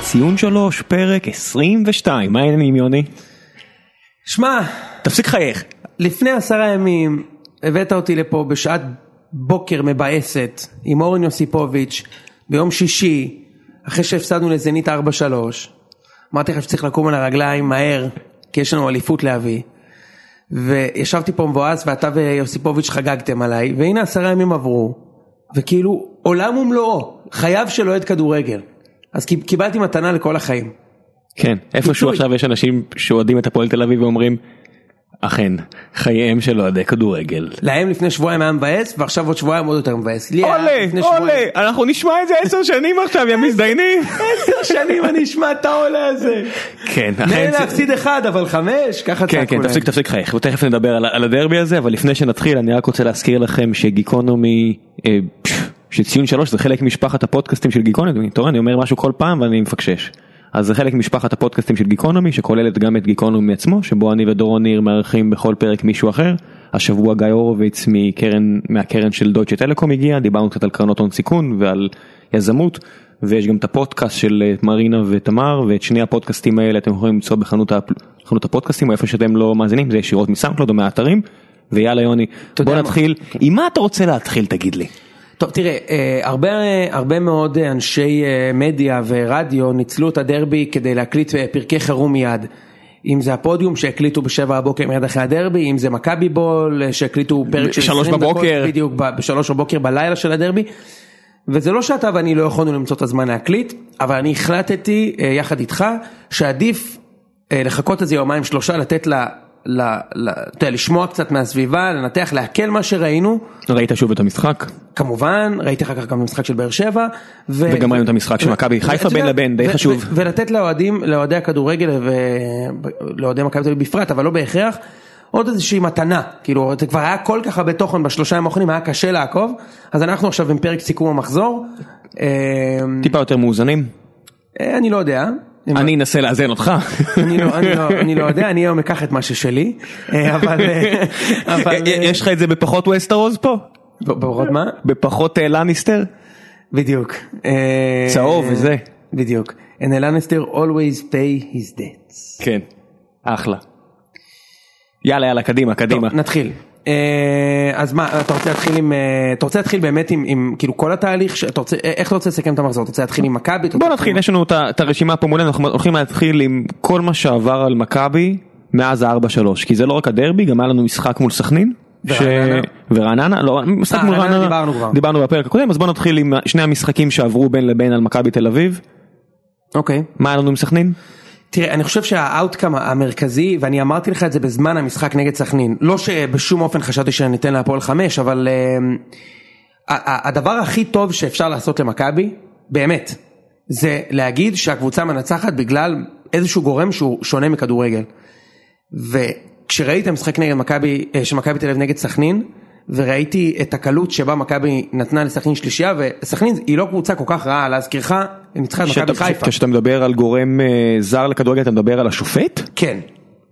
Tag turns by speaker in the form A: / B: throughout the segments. A: ציון שלוש, פרק 22, מה העניינים יוני?
B: שמע,
A: תפסיק לחייך.
B: לפני עשרה ימים הבאת אותי לפה בשעת בוקר מבאסת עם אורן יוסיפוביץ' ביום שישי, אחרי שהפסדנו לזנית 4-3. אמרתי לך שצריך לקום על הרגליים מהר, כי יש לנו אליפות להביא. וישבתי פה מבואס ואתה ויוסיפוביץ' חגגתם עליי, והנה עשרה ימים עברו, וכאילו עולם ומלואו, חייו של אוהד כדורגל. אז קיב- קיבלתי מתנה לכל החיים.
A: כן, איפשהו
B: פיצוי.
A: עכשיו יש אנשים שאוהדים את הפועל תל אביב ואומרים, אכן, חייהם של אוהדי כדורגל.
B: להם לפני שבועיים היה מבאס, ועכשיו עוד שבועיים עוד יותר מבאס. לי היה לפני שבועיים-
A: אנחנו נשמע את זה עשר שנים עכשיו, יא מזדיינים.
B: עשר שנים אני אשמע את העולה הזה.
A: כן, אכן.
B: מילא להפסיד אחד, אבל חמש, ככה
A: כן,
B: צעקו
A: כן,
B: להם.
A: תפסיק, תפסיק לחייך, ותכף נדבר על, על הדרבי הזה, אבל לפני שנתחיל אני רק רוצה להזכיר לכם שגיקונומי, אה, פש, שציון שלוש זה חלק ממשפחת הפודקאסטים של גיקונומי, אתה רואה אני אומר משהו כל פעם ואני מפקשש. אז זה חלק ממשפחת הפודקאסטים של גיקונומי שכוללת גם את גיקונומי עצמו, שבו אני ודורון ניר מארחים בכל פרק מישהו אחר. השבוע גיא הורוביץ מקרן, מהקרן של דויטשה טלקום הגיע, דיברנו קצת על קרנות הון סיכון ועל יזמות. ויש גם את הפודקאסט של אה, מרינה ותמר ואת שני הפודקאסטים האלה אתם יכולים למצוא בחנות הפ- חנות הפודקאסטים או איפה שאתם לא מאזינים זה ישירות מסאונדקלוד או מהאתרים. ויאללה יוני
B: יודע
A: בוא
B: מה? כן.
A: נתחיל עם מה אתה רוצה להתחיל תגיד לי.
B: טוב, תראה, אה, הרבה, הרבה מאוד אה, אנשי אה, מדיה ורדיו ניצלו את הדרבי כדי להקליט אה, פרקי חירום מיד. אם זה הפודיום שהקליטו בשבע הבוקר מיד אחרי הדרבי, אם זה מכבי בול אה, שהקליטו פרק של
A: בשלוש
B: 20 דקות,
A: בבוקר.
B: בדיוק, ב- בשלוש בבוקר בלילה של הדרבי. וזה לא שאתה ואני לא יכולנו למצוא את הזמן להקליט, אבל אני החלטתי אה, יחד איתך שעדיף אה, לחכות איזה יומיים שלושה, לתת ל... ל, ל אתה יודע, לשמוע קצת מהסביבה, לנתח, לעכל מה שראינו.
A: ראית שוב את המשחק
B: Mm. כמובן, ראיתי אחר כך גם משחק של באר שבע. ו...
A: וגם ראינו את המשחק של
B: ו-
A: מכבי
B: ו-
A: חיפה
B: אתה יודע,
A: בין לבין, די
B: ו-
A: חשוב.
B: ו- ולתת לאוהדים, לאוהדי הכדורגל ולאוהדי מכבי תל אביב בפרט, אבל לא בהכרח, עוד איזושהי מתנה. כאילו, זה כבר היה כל כך הרבה תוכן בשלושה ימים האחרונים, היה קשה לעקוב, אז אנחנו עכשיו עם פרק סיכום המחזור. אה,
A: טיפה יותר מאוזנים
B: אה, אני לא יודע. אם-
A: אני אנסה לאזן אותך.
B: אני לא, אני, לא, אני לא יודע, אני היום אקח את מה ששלי, אה, אבל... אה, אבל אה,
A: יש לך את זה בפחות ווסטרוז פה?
B: ב- בעוד מה?
A: בפחות אה, לניסטר?
B: בדיוק. אה,
A: צהוב וזה.
B: בדיוק. And a Lannister always pay his debts.
A: כן. אחלה. יאללה יאללה קדימה
B: טוב,
A: קדימה.
B: נתחיל. אה, אז מה, אתה רוצה להתחיל עם, אה, אתה רוצה להתחיל באמת עם, עם כאילו כל התהליך, ש- אתה רוצה, אה, איך אתה רוצה לסכם את המחזור? אתה רוצה להתחיל עם מכבי? אתה רוצה
A: בוא
B: להתחיל עם-
A: נתחיל, יש לנו את ה- את הרשימה פה מולנו, אנחנו הולכים להתחיל עם כל מה שעבר על מכבי מאז ה-4-3, כי זה לא רק הדרבי, גם היה לנו משחק מול סכנין. ש-
B: ורעננה.
A: ורעננה, לא, משחק
B: אה,
A: מול
B: רעננה
A: רעננה,
B: דיברנו כבר.
A: דיברנו בפרק הקודם, אז בוא נתחיל עם שני המשחקים שעברו בין לבין על מכבי תל אביב,
B: אוקיי.
A: מה היה לנו עם סכנין?
B: תראה, אני חושב שהאאוטקאם המרכזי, ואני אמרתי לך את זה בזמן המשחק נגד סכנין, לא שבשום אופן חשבתי שניתן להפועל חמש, אבל אה, ה- ה- הדבר הכי טוב שאפשר לעשות למכבי, באמת, זה להגיד שהקבוצה מנצחת בגלל איזשהו גורם שהוא שונה מכדורגל. וכשראיתי את המשחק נגד מכבי, אה, של מכבי תל אביב נגד סכנין, וראיתי את הקלות שבה מכבי נתנה לסכנין שלישייה, וסכנין היא לא קבוצה כל כך רעה, להזכירך, היא ניצחה את מכבי
A: כשאתה-
B: חיפה.
A: כשאתה מדבר על גורם אה, זר לכדורגל אתה מדבר על השופט?
B: כן,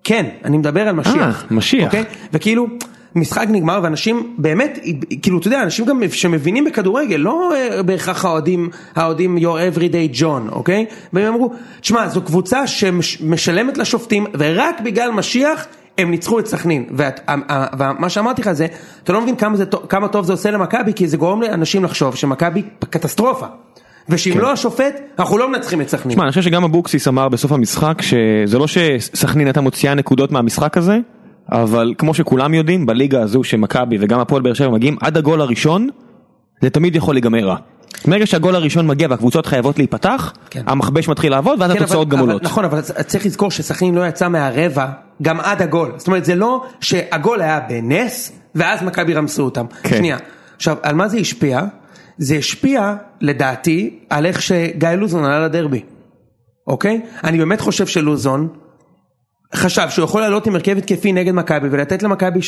B: כן, אני מדבר על משיח.
A: אה, משיח.
B: אוקיי? וכאילו, משחק נגמר ואנשים באמת, כאילו, אתה יודע, אנשים גם שמבינים בכדורגל, לא אה, בהכרח האוהדים, האוהדים your everyday John, אוקיי? והם אמרו, תשמע, זו קבוצה שמשלמת לשופטים, ורק בגלל משיח... הם ניצחו את סכנין, ואת- ה- ה- ומה שאמרתי לך זה, אתה לא מבין כמה, זה, טוב- כמה טוב זה עושה למכבי, כי זה גורם לאנשים לחשוב שמכבי קטסטרופה, ושאם
A: כן.
B: לא השופט, אנחנו לא מנצחים את סכנין.
A: תשמע, אני חושב שגם אבוקסיס אמר בסוף המשחק שזה לא שסכנין הייתה מוציאה נקודות מהמשחק הזה, אבל כמו שכולם יודעים, בליגה הזו שמכבי וגם הפועל באר שבע מגיעים עד הגול הראשון, זה תמיד יכול להיגמר רע. מרגע שהגול הראשון מגיע והקבוצות חייבות להיפתח,
B: כן.
A: המכבש מתחיל לעבוד ואז
B: כן,
A: התוצאות
B: אבל-
A: גם
B: אבל-
A: עולות.
B: נכון, אבל צריך לזכור שסכנין לא יצא מהרבע גם עד הגול. זאת אומרת, זה לא שהגול היה בנס, ואז מכבי רמסו אותם.
A: כן.
B: שנייה. עכשיו, על מה זה השפיע? זה השפיע, לדעתי, על איך שגיא לוזון עלה לדרבי. אוקיי? אני באמת חושב שלוזון חשב שהוא יכול לעלות עם הרכב התקפי נגד מכבי ולתת למכבי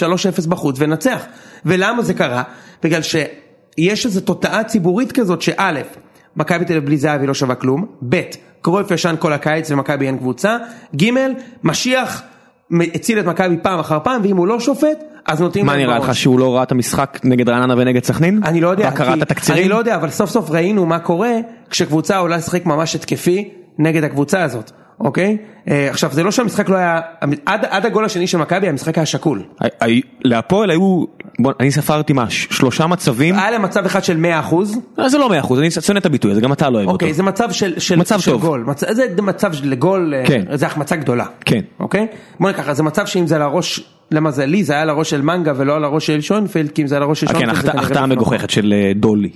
B: 3-0 בחוץ ולנצח. ולמה זה קרה? בגלל שיש איזו תודעה ציבורית כזאת שא', מכבי תל אביב בלי זהבי לא שווה כלום, ב', קרויף ישן כל הקיץ ומכבי אין קבוצה, ג', משיח הציל את מכבי פעם אחר פעם ואם הוא לא שופט אז נותנים
A: מה
B: להם
A: נראה לך
B: בראש.
A: שהוא לא ראה את המשחק נגד רעננה ונגד סכנין?
B: נכון. אני לא יודע,
A: רק קרא
B: כי-
A: את
B: אני
A: התקצירים?
B: לא יודע, אבל סוף סוף ראינו מה קורה כשקבוצה עולה לשחק ממש התקפי נגד הקבוצה הזאת, אוקיי? אה, עכשיו זה לא שהמשחק לא היה, עד, עד הגול השני של מכבי המשחק היה שקול.
A: ה- ה- להפועל היו, בוא, אני ספרתי מה, ש- שלושה מצבים?
B: היה להם מצב אחד של 100%,
A: אה, זה לא מאה אחוז, אני שונא את הביטוי הזה, גם אתה לא אוהב אותו.
B: אוקיי, זה מצב של, של,
A: מצב
B: של
A: טוב.
B: גול, מצ... זה מצב של גול, אה,
A: כן.
B: זה החמצה גדולה,
A: כן.
B: אוקיי? בוא ניקח, זה מצב שאם זה על הראש, למזלי זה היה על הראש של מנגה ולא על הראש של שונפלד, כי אם זה על הראש של
A: אה, כן,
B: שונפלד, זה
A: החט-
B: כנראה
A: החטאה
B: בפנים.
A: מגוחכת של אה, דולי.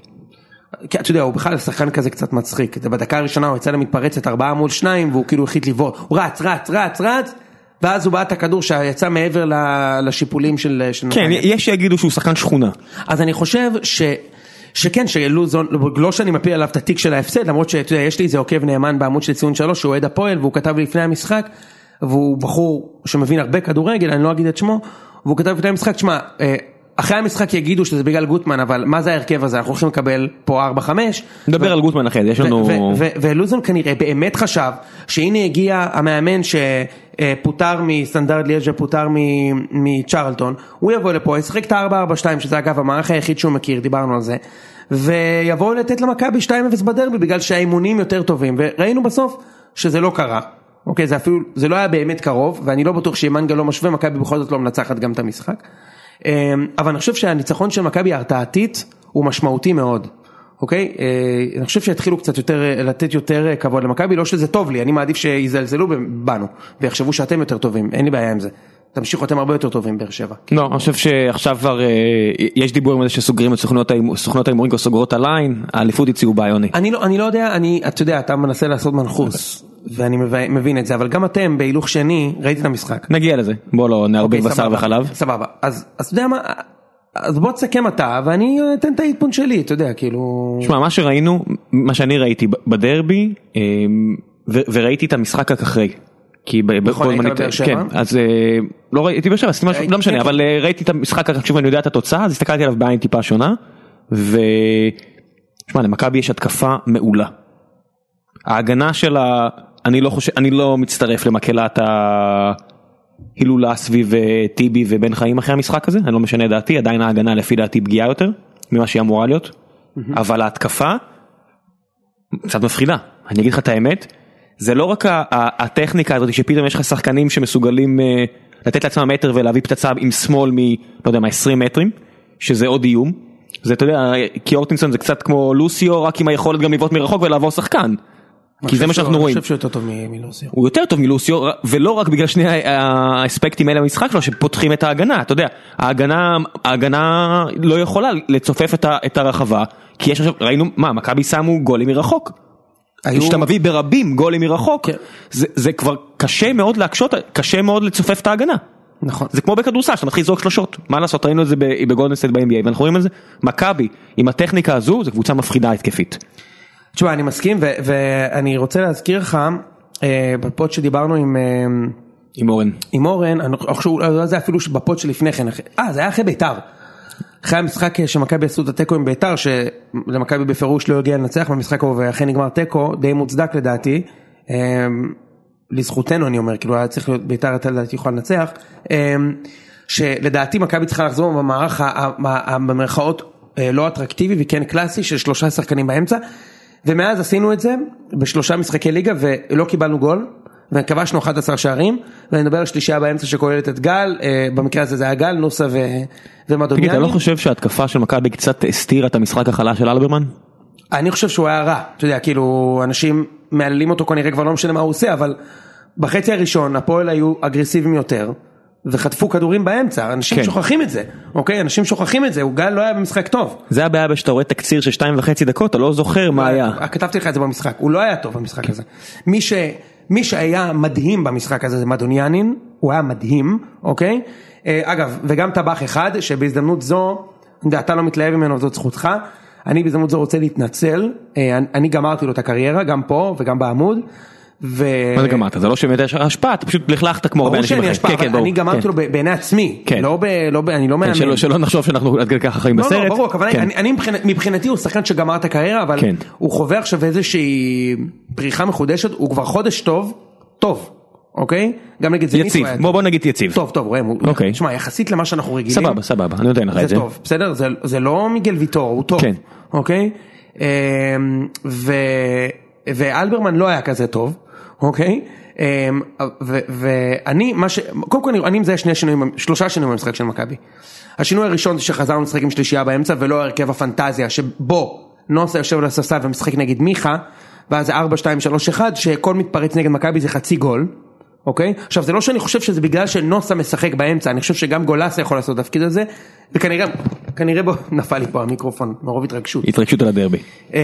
B: כי כן, אתה יודע, הוא בכלל שחקן כזה קצת מצחיק, זה בדקה הראשונה הוא יצא למתפרצת ארבעה מול שניים והוא כאילו החליט לבעוט, הוא רץ, רץ, רץ, רץ, ואז הוא בעט את הכדור שיצא מעבר ל- לשיפולים של... של
A: כן,
B: נתניה.
A: יש שיגידו שהוא שחקן שכונה.
B: אז אני חושב ש... שכן, שלוזון, לא שאני מפיל עליו את התיק של ההפסד, למרות שאתה יודע, יש לי איזה עוקב נאמן בעמוד של ציון שלוש, שהוא אוהד הפועל, והוא כתב לי לפני המשחק, והוא בחור שמבין הרבה כדורגל, אני לא אגיד את שמו, והוא כתב לפני המשחק, שמע, אה, אחרי המשחק יגידו שזה בגלל גוטמן, אבל מה זה ההרכב הזה, אנחנו הולכים לקבל פה 4-5.
A: נדבר על גוטמן אחרי זה, יש לנו...
B: ו- ו- ו- ולוזון כנראה באמת חשב שהנה הגיע המאמן שפוטר מסטנדרט ליאז'ה, פוטר מ- מצ'רלטון, הוא יבוא לפה, ישחק את ה-442 שזה אגב המערך היחיד שהוא מכיר, דיברנו על זה, ויבואו לתת למכבי 2-0 בדרבי בגלל שהאימונים יותר טובים, וראינו בסוף שזה לא קרה. אוקיי, זה אפילו, זה לא היה באמת קרוב, ואני לא בטוח שאם מנגה לא משווה, מכבי בכל זאת לא מנצחת גם את המשחק. אמ, אבל אני חושב שהניצחון של מכבי ההרתעתית הוא משמעותי מאוד. אוקיי? אה, אני חושב שהתחילו קצת יותר, אה, לתת יותר אה, כבוד למכבי, לא שזה טוב לי, אני מעדיף שיזלזלו בנו, ויחשבו שאתם יותר טובים, אין לי בעיה עם זה. תמשיכו, אתם הרבה יותר טובים, באר שבע.
A: לא, אני חושב שעכשיו כבר אה, יש דיבור עם זה שסוגרים את סוכנות ההימ- סוכנות ההימורים כבר סוגרות הליין, האליפות הציעו בעיוני.
B: אני לא, אני לא יודע, אני, אתה יודע, אתה מנסה לעשות מנחוס, ואני מב- מבין את זה, אבל גם אתם, בהילוך שני, ראיתי את המשחק.
A: נגיע לזה, בוא לא נערבב
B: אוקיי,
A: בשר
B: סבבה,
A: וחלב.
B: סבבה, אז אז אתה יודע מה, אז בוא תסכם אתה, ואני אתן את העדפון שלי, אתה יודע, כאילו...
A: שמע, מה שראינו, מה שאני ראיתי ב- בדרבי, אה, ו- וראיתי את המשחק רק אחרי. כי ב- בכל
B: נכון, היית
A: זמן-
B: בבאר שבע?
A: כן, אז אה, לא ראיתי באר שבע, אז משהו-
B: ראיתי,
A: לא משנה,
B: כן,
A: אבל אה, ראיתי את המשחק רק שוב אני יודע את התוצאה, אז הסתכלתי עליו בעין טיפה שונה, ו... שמע, למכבי יש התקפה מעולה. ההגנה שלה, אני לא חושב, אני לא מצטרף למקהלת ההילולה סביב אה, טיבי ובן חיים אחרי המשחק הזה, אני לא משנה את דעתי, עדיין ההגנה לפי דעתי פגיעה יותר ממה שהיא אמורה להיות, אבל ההתקפה קצת מפחידה, אני אגיד לך את האמת, זה לא רק ה- ה- הטכניקה הזאת שפתאום יש לך שחקנים שמסוגלים אה, לתת לעצמם מטר ולהביא פצצה עם שמאל מ... לא יודע מה, 20 מטרים, שזה עוד איום. זה אתה יודע, כי אורטינסון זה קצת כמו לוסיו, רק עם היכולת גם לבעוט מרחוק ולעבור שחקן. כי זה מה שאנחנו רואים.
B: אני חושב שהוא יותר טוב מ- מלוסי.
A: הוא יותר טוב מלוסיו, ולא רק בגלל שני ה- האספקטים האלה במשחק שלו שפותחים את ההגנה, אתה יודע, ההגנה, ההגנה לא יכולה לצופף את, ה, את הרחבה, כי יש עכשיו, ראינו, מה, מכבי שמו גולים מרחוק.
B: היו-
A: כשאתה מביא ברבים גולים מרחוק,
B: כן.
A: זה, זה כבר קשה מאוד להקשות, קשה מאוד לצופף את ההגנה.
B: נכון.
A: זה כמו בכדורסל שאתה מתחיל לזרוק שלושות מה לעשות ראינו את זה בגולדנסט ב-NBA ואנחנו רואים את זה מכבי עם הטכניקה הזו זו קבוצה מפחידה התקפית.
B: תשמע, אני מסכים, ו- ואני רוצה להזכיר לך, אה, בפוד שדיברנו עם, אה,
A: עם אורן.
B: עם אורן, אני חושב, לא זה אפילו בפוד שלפני כן, אחרי- אה, זה היה אחרי ביתר. אחרי המשחק אה, שמכבי עשו את התיקו עם ביתר, שלמכבי בפירוש לא הגיע לנצח במשחק ההוא, ואכן נגמר תיקו, די מוצדק לדעתי. אה, לזכותנו אני אומר, כאילו היה צריך להיות ביתר הייתה לדעתי יכולה לנצח. אה, שלדעתי מכבי צריכה לחזור במערך ה- ה- ה- ה- במרכאות אה, לא אטרקטיבי וכן קלאסי של שלושה שחקנים באמצע. ומאז עשינו את זה בשלושה משחקי ליגה ולא קיבלנו גול וכבשנו 11 שערים ואני מדבר על שלישייה באמצע שכוללת את גל, אה, במקרה הזה זה היה גל, נוסה ו- ומדוניאני.
A: תגיד אתה לא חושב שההתקפה של מכבי קצת הסתירה את המשחק החלש של אלברמן?
B: אני חושב שהוא היה רע, אתה יודע, כאילו, אנשים מהללים אותו כנראה כבר לא משנה מה הוא עושה, אבל בחצי הראשון הפועל היו אגרסיביים יותר, וחטפו כדורים באמצע, אנשים
A: כן.
B: כן. שוכחים את זה, אוקיי? אנשים שוכחים את זה, הוא גל לא היה במשחק טוב.
A: זה הבעיה בשאתה רואה תקציר של שתיים וחצי דקות אתה לא זוכר מה היה.
B: אה, כתבתי לך את זה במשחק, הוא לא היה טוב במשחק הזה. מי, ש, מי שהיה מדהים במשחק הזה זה מדוניאנין, הוא היה מדהים, אוקיי? אה, אגב, וגם טבח אחד, שבהזדמנות זו, אני יודע, אתה לא מתלהב ממנו, זאת זכותך. אני בהזדמנות זו רוצה להתנצל, אה, אני- אני גמרתי לו את הקריירה, גם פה וגם בעמוד. ו...
A: מה זה גמרת זה לא שבאמת יש לך השפעה אתה פשוט לכלכת כמו הרבה
B: ברור
A: אנשים
B: שאני
A: אחרים.
B: אשפה,
A: כן, כן,
B: אבל אני
A: ברור.
B: גמרתי
A: כן.
B: לו ב- בעיני עצמי.
A: כן.
B: לא ב... לא ב... אני לא מאמן.
A: כן, שלא- שלא נחשוב שאנחנו עד כדי ככה חיים
B: לא,
A: בסרט.
B: לא, ברור, הכוונה,
A: כן.
B: אני, אני מבחינת, מבחינתי הוא שחקן שגמר את הקריירה, אבל
A: כן.
B: הוא חווה עכשיו איזושהי פריחה מחודשת, הוא כבר חודש טוב, טוב, אוקיי? גם נגד זיניט
A: יציב
B: הוא היה
A: בוא בוא נגיד יציב.
B: טוב, טוב, ראם, הוא-
A: אוקיי.
B: שמע, יחסית למה שאנחנו רגילים,
A: סבבה סבבה אני נותן לך
B: זה,
A: את זה.
B: טוב, בסדר? זה, זה לא מיגל ויטור, הוא טוב,
A: כן.
B: אוקיי? אמ, ו... ואלברמן לא היה כזה טוב, אוקיי? אמ, ו- ואני, מה ש... קודם כל אני- אני מזהה שני שינויים, שלושה שינויים במשחק של מכבי. השינוי הראשון זה שחזרנו לשחק עם שלישייה באמצע ולא ההרכב הפנטזיה שבו נוסה יושב על הספסל ומשחק נגד מיכה, ואז זה 4, 2, 3, 1, שכל מתפרץ נגד מכבי זה חצי גול. אוקיי? עכשיו זה לא שאני חושב שזה בגלל שנוסה משחק באמצע, אני חושב שגם גולסה יכול לעשות את התפקיד הזה, וכנראה, כנראה בו, נפל לי פה המיקרופון מרוב התרגשות.
A: התרגשות על הדרבי.
B: אמ,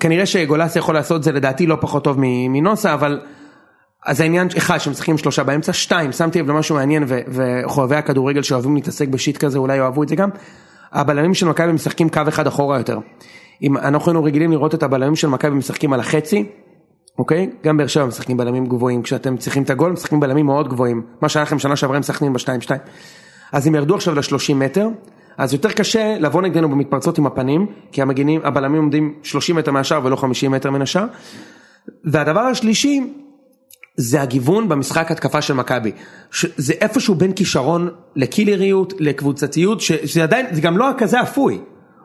B: כנראה שגולסה יכול לעשות את זה לדעתי לא פחות טוב מ- מנוסה אבל אז העניין אחד שהם משחקים שלושה באמצע שתיים שמתי לב למשהו מעניין ו- וחובבי הכדורגל שאוהבים להתעסק בשיט כזה אולי יאהבו את זה גם. הבלמים של מכבי משחקים קו אחד אחורה יותר. אם אנחנו היינו רגילים לראות את הבלמים של מכבי משחקים על החצי. אוקיי? גם באר שבע משחקים בלמים גבוהים, כשאתם צריכים את הגול משחקים בלמים מאוד גבוהים, מה שהיה לכם שנה שעברה עם סכנין ב-2-2. אז הם ירדו עכשיו ל-30 מטר, אז יותר קשה לבוא נגדנו במתפרצות עם הפנים, כי המגינים, הבלמים עומדים 30 מטר מהשאר ולא 50 מטר מן השאר. והדבר השלישי, זה הגיוון במשחק התקפה של מכבי. ש- זה איפשהו בין כישרון לקילריות, לקבוצתיות, ש- שזה עדיין, זה גם לא כזה אפוי.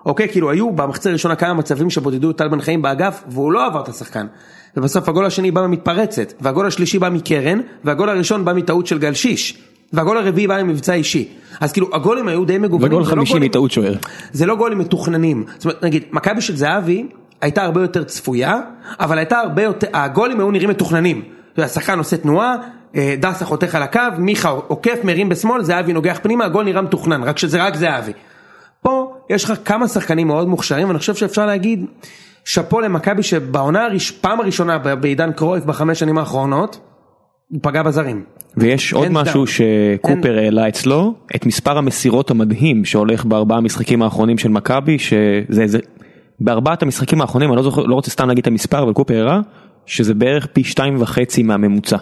B: אוקיי, כאילו היו במחצית הראשונה כמה מצבים שבודדו את טל בן חיים באגף, והוא לא עבר את השחקן. ובסוף הגול השני בא ממתפרצת, והגול השלישי בא מקרן, והגול הראשון בא מטעות של גל שיש. והגול הרביעי בא ממבצע אישי. אז כאילו הגולים היו די מגוונים.
A: וגול
B: זה לא
A: חמישי
B: גולים-
A: מטעות שוער.
B: זה לא גולים מתוכננים. זאת אומרת, נגיד, מכבי של זהבי הייתה הרבה יותר צפויה, אבל הייתה הרבה יותר, הגולים היו נראים מתוכננים. אתה יודע, השחקן עושה תנועה, אה, דסה חותך על הקו, מיכה עוקף, מרים בשמאל, זהבי נוגח פנימה, הגול נראה מתוכנן, רק שזה רק זהבי. פה יש לך כמה שחקנים מאוד מוכשרים, ואני חושב שאפשר להגיד, שאפו למכבי שבעונה הראשונה, פעם הראשונה ב- בעידן קרויף בחמש שנים האחרונות, הוא פגע בזרים.
A: ויש עוד
B: אין
A: משהו
B: סתם.
A: שקופר העלה אצלו, את מספר המסירות המדהים שהולך בארבעה המשחקים האחרונים של מכבי, שזה איזה, בארבעת המשחקים האחרונים, אני לא זוכר, לא רוצה סתם להגיד את המספר, אבל קופר הראה, שזה בערך פי שתיים וחצי מהממוצע.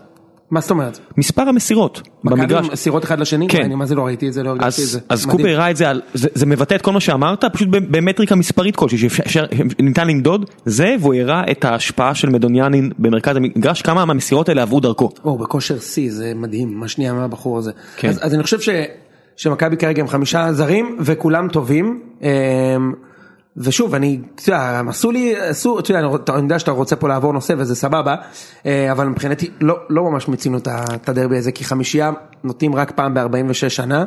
B: מה זאת אומרת?
A: מספר המסירות במגרש.
B: מכבי סירות אחד לשני?
A: כן.
B: אני מה זה לא ראיתי את זה, לא הרגשתי את זה.
A: אז, אז
B: מדהים.
A: קופר הראה את זה, על, זה, זה מבטא את כל מה שאמרת, פשוט ב- במטריקה מספרית כלשהי שניתן למדוד, זה והוא הראה את ההשפעה של מדוניאנין במרכז המגרש, כמה מהמסירות האלה עברו דרכו.
B: או, בכושר שיא, זה מדהים, מה שנייה מהבחור הזה.
A: כן.
B: כן. אז, אז אני חושב ש, שמכבי כרגע הם חמישה זרים, וכולם טובים. אמ, ושוב, אני, אתה יודע, הם עשו לי, עשו, אתה יודע, אני רוצה- אני יודע שאתה רוצה פה לעבור נושא וזה סבבה, אה, אבל מבחינתי לא, לא ממש מיצינו את ה- את הדרבי הזה, כי חמישייה נוטים רק פעם ב-46 שנה,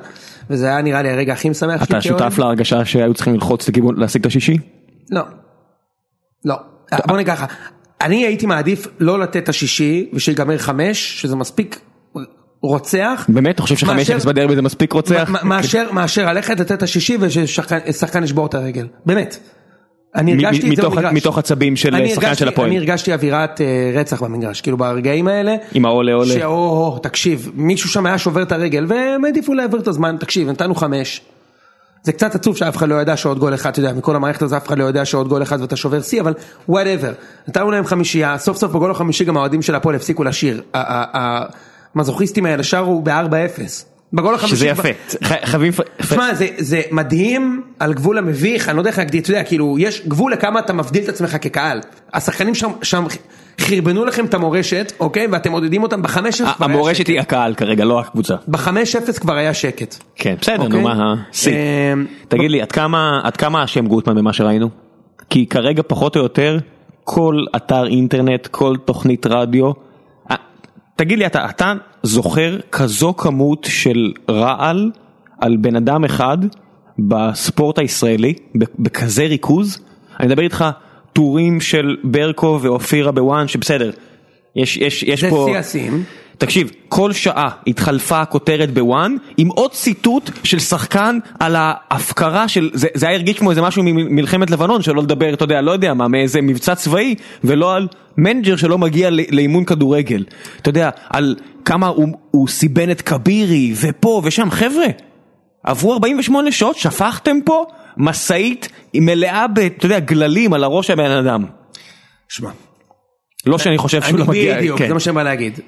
B: וזה היה נראה לי הרגע הכי משמח
A: אתה
B: כאוהד.
A: שותף להרגשה שהיו צריכים ללחוץ לכיוון- להשיג את השישי?
B: לא. לא. אה, בוא נגיד ככה, אני הייתי מעדיף לא לתת את השישי ושיגמר חמש, שזה מספיק רוצח.
A: באמת? אתה חושב שחמש אפס
B: מאשר-
A: בדרבי זה מספיק רוצח?
B: מ- מ- מאשר, מאשר ללכת לתת את השישי וששחקן ישבור את הרגל, באמת. אני
A: מ- מ-
B: הרגשתי את זה
A: מתוך-
B: במגרש.
A: מתוך עצבים של
B: אני
A: שחקן
B: הרגשתי-
A: של הפועל.
B: אני הרגשתי אווירת אה, רצח במגרש, כאילו ברגעים האלה.
A: עם העולה לא עולה.
B: שאו, הו, תקשיב, מישהו שם היה שובר את הרגל והם העדיפו להעביר את הזמן, תקשיב, נתנו חמש. זה קצת עצוב שאף אחד לא ידע שעוד גול אחד, אתה יודע, מכל המערכת הזו אף אחד לא יודע שעוד גול אחד ואתה שובר שיא, אבל וואטאבר. נתנו להם חמישייה, סוף סוף בגול החמישי גם האוהדים של הפועל הפסיקו לשיר. ה- ה- המזוכיסטים האלה שרו ב-4-0. בגול החמישי.
A: שזה
B: כבר-
A: יפה. ח- חייבים...
B: תשמע, זה, זה מדהים על גבול המביך, אני לא יודע איך להגדיר, אתה יודע, כאילו, יש גבול לכמה אתה מבדיל את עצמך כקהל. השחקנים שם, שם חרבנו לכם את המורשת, אוקיי? ואתם עודדים אותם בחמש אפס כבר היה
A: המורשת היא הקהל כרגע, לא הקבוצה.
B: שקט. בחמש אפס כבר היה שקט.
A: כן, בסדר,
B: אוקיי?
A: נו מה השיא.
B: אמ,
A: תגיד לי, עד כמה עד כמה אשם גוטמן במה שראינו? כי כרגע פחות או יותר כל אתר אינטרנט, כל תוכנית רדיו, אה, תגיד לי, אתה אתה זוכר כזו כמות של רעל על בן אדם אחד בספורט הישראלי, ב- בכזה ריכוז? אני מדבר איתך טורים של ברקו ואופירה בוואן, שבסדר, יש, יש, יש
B: זה
A: פה...
B: שיא השיאים.
A: תקשיב, כל שעה התחלפה הכותרת בוואן עם עוד ציטוט של שחקן על ההפקרה של, זה, זה היה הרגיש כמו איזה משהו ממלחמת לבנון, שלא לדבר, אתה יודע, לא יודע מה, מאיזה מבצע צבאי, ולא על מנג'ר שלא מגיע ל- לאימון כדורגל. אתה יודע, על כמה הוא, הוא סיבן את כבירי, ופה ושם, חבר'ה, עברו 48 שעות, שפכתם פה משאית מלאה ב, אתה יודע, גללים על הראש של הבן אדם.
B: שמע,
A: לא שאני חושב שהוא לא
B: אני-
A: מגיע,
B: בדיוק,
A: כן.
B: זה מה שאני בא להגיד.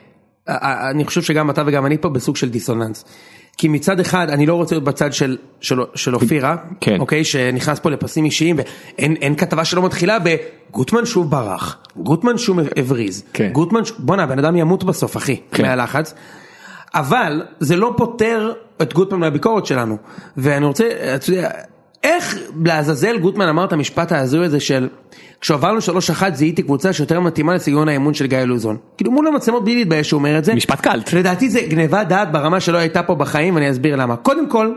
B: א- א- אני חושב שגם אתה וגם אני פה בסוג של דיסוננס. כי מצד אחד אני לא רוצה להיות בצד של, של, של אופירה,
A: כן.
B: אוקיי, שנכנס פה לפסים אישיים ואין אין כתבה שלא מתחילה בגוטמן שוב ברח, גוטמן שוב הבריז,
A: כן.
B: גוטמן, ש- בואנה הבן אדם ימות בסוף אחי,
A: כן.
B: מהלחץ. אבל זה לא פותר את גוטמן מהביקורת שלנו ואני רוצה, אתה יודע, איך לעזאזל גוטמן אמר את המשפט ההזוי הזה של כשעברנו 3-1 זיהיתי קבוצה שיותר מתאימה לסגנון האימון של גיא לוזון. כאילו מול המצלמות בלי להתבייש שהוא אומר את זה.
A: משפט קלט.
B: לדעתי זה גניבת דעת ברמה שלא הייתה פה בחיים ואני אסביר למה. קודם כל,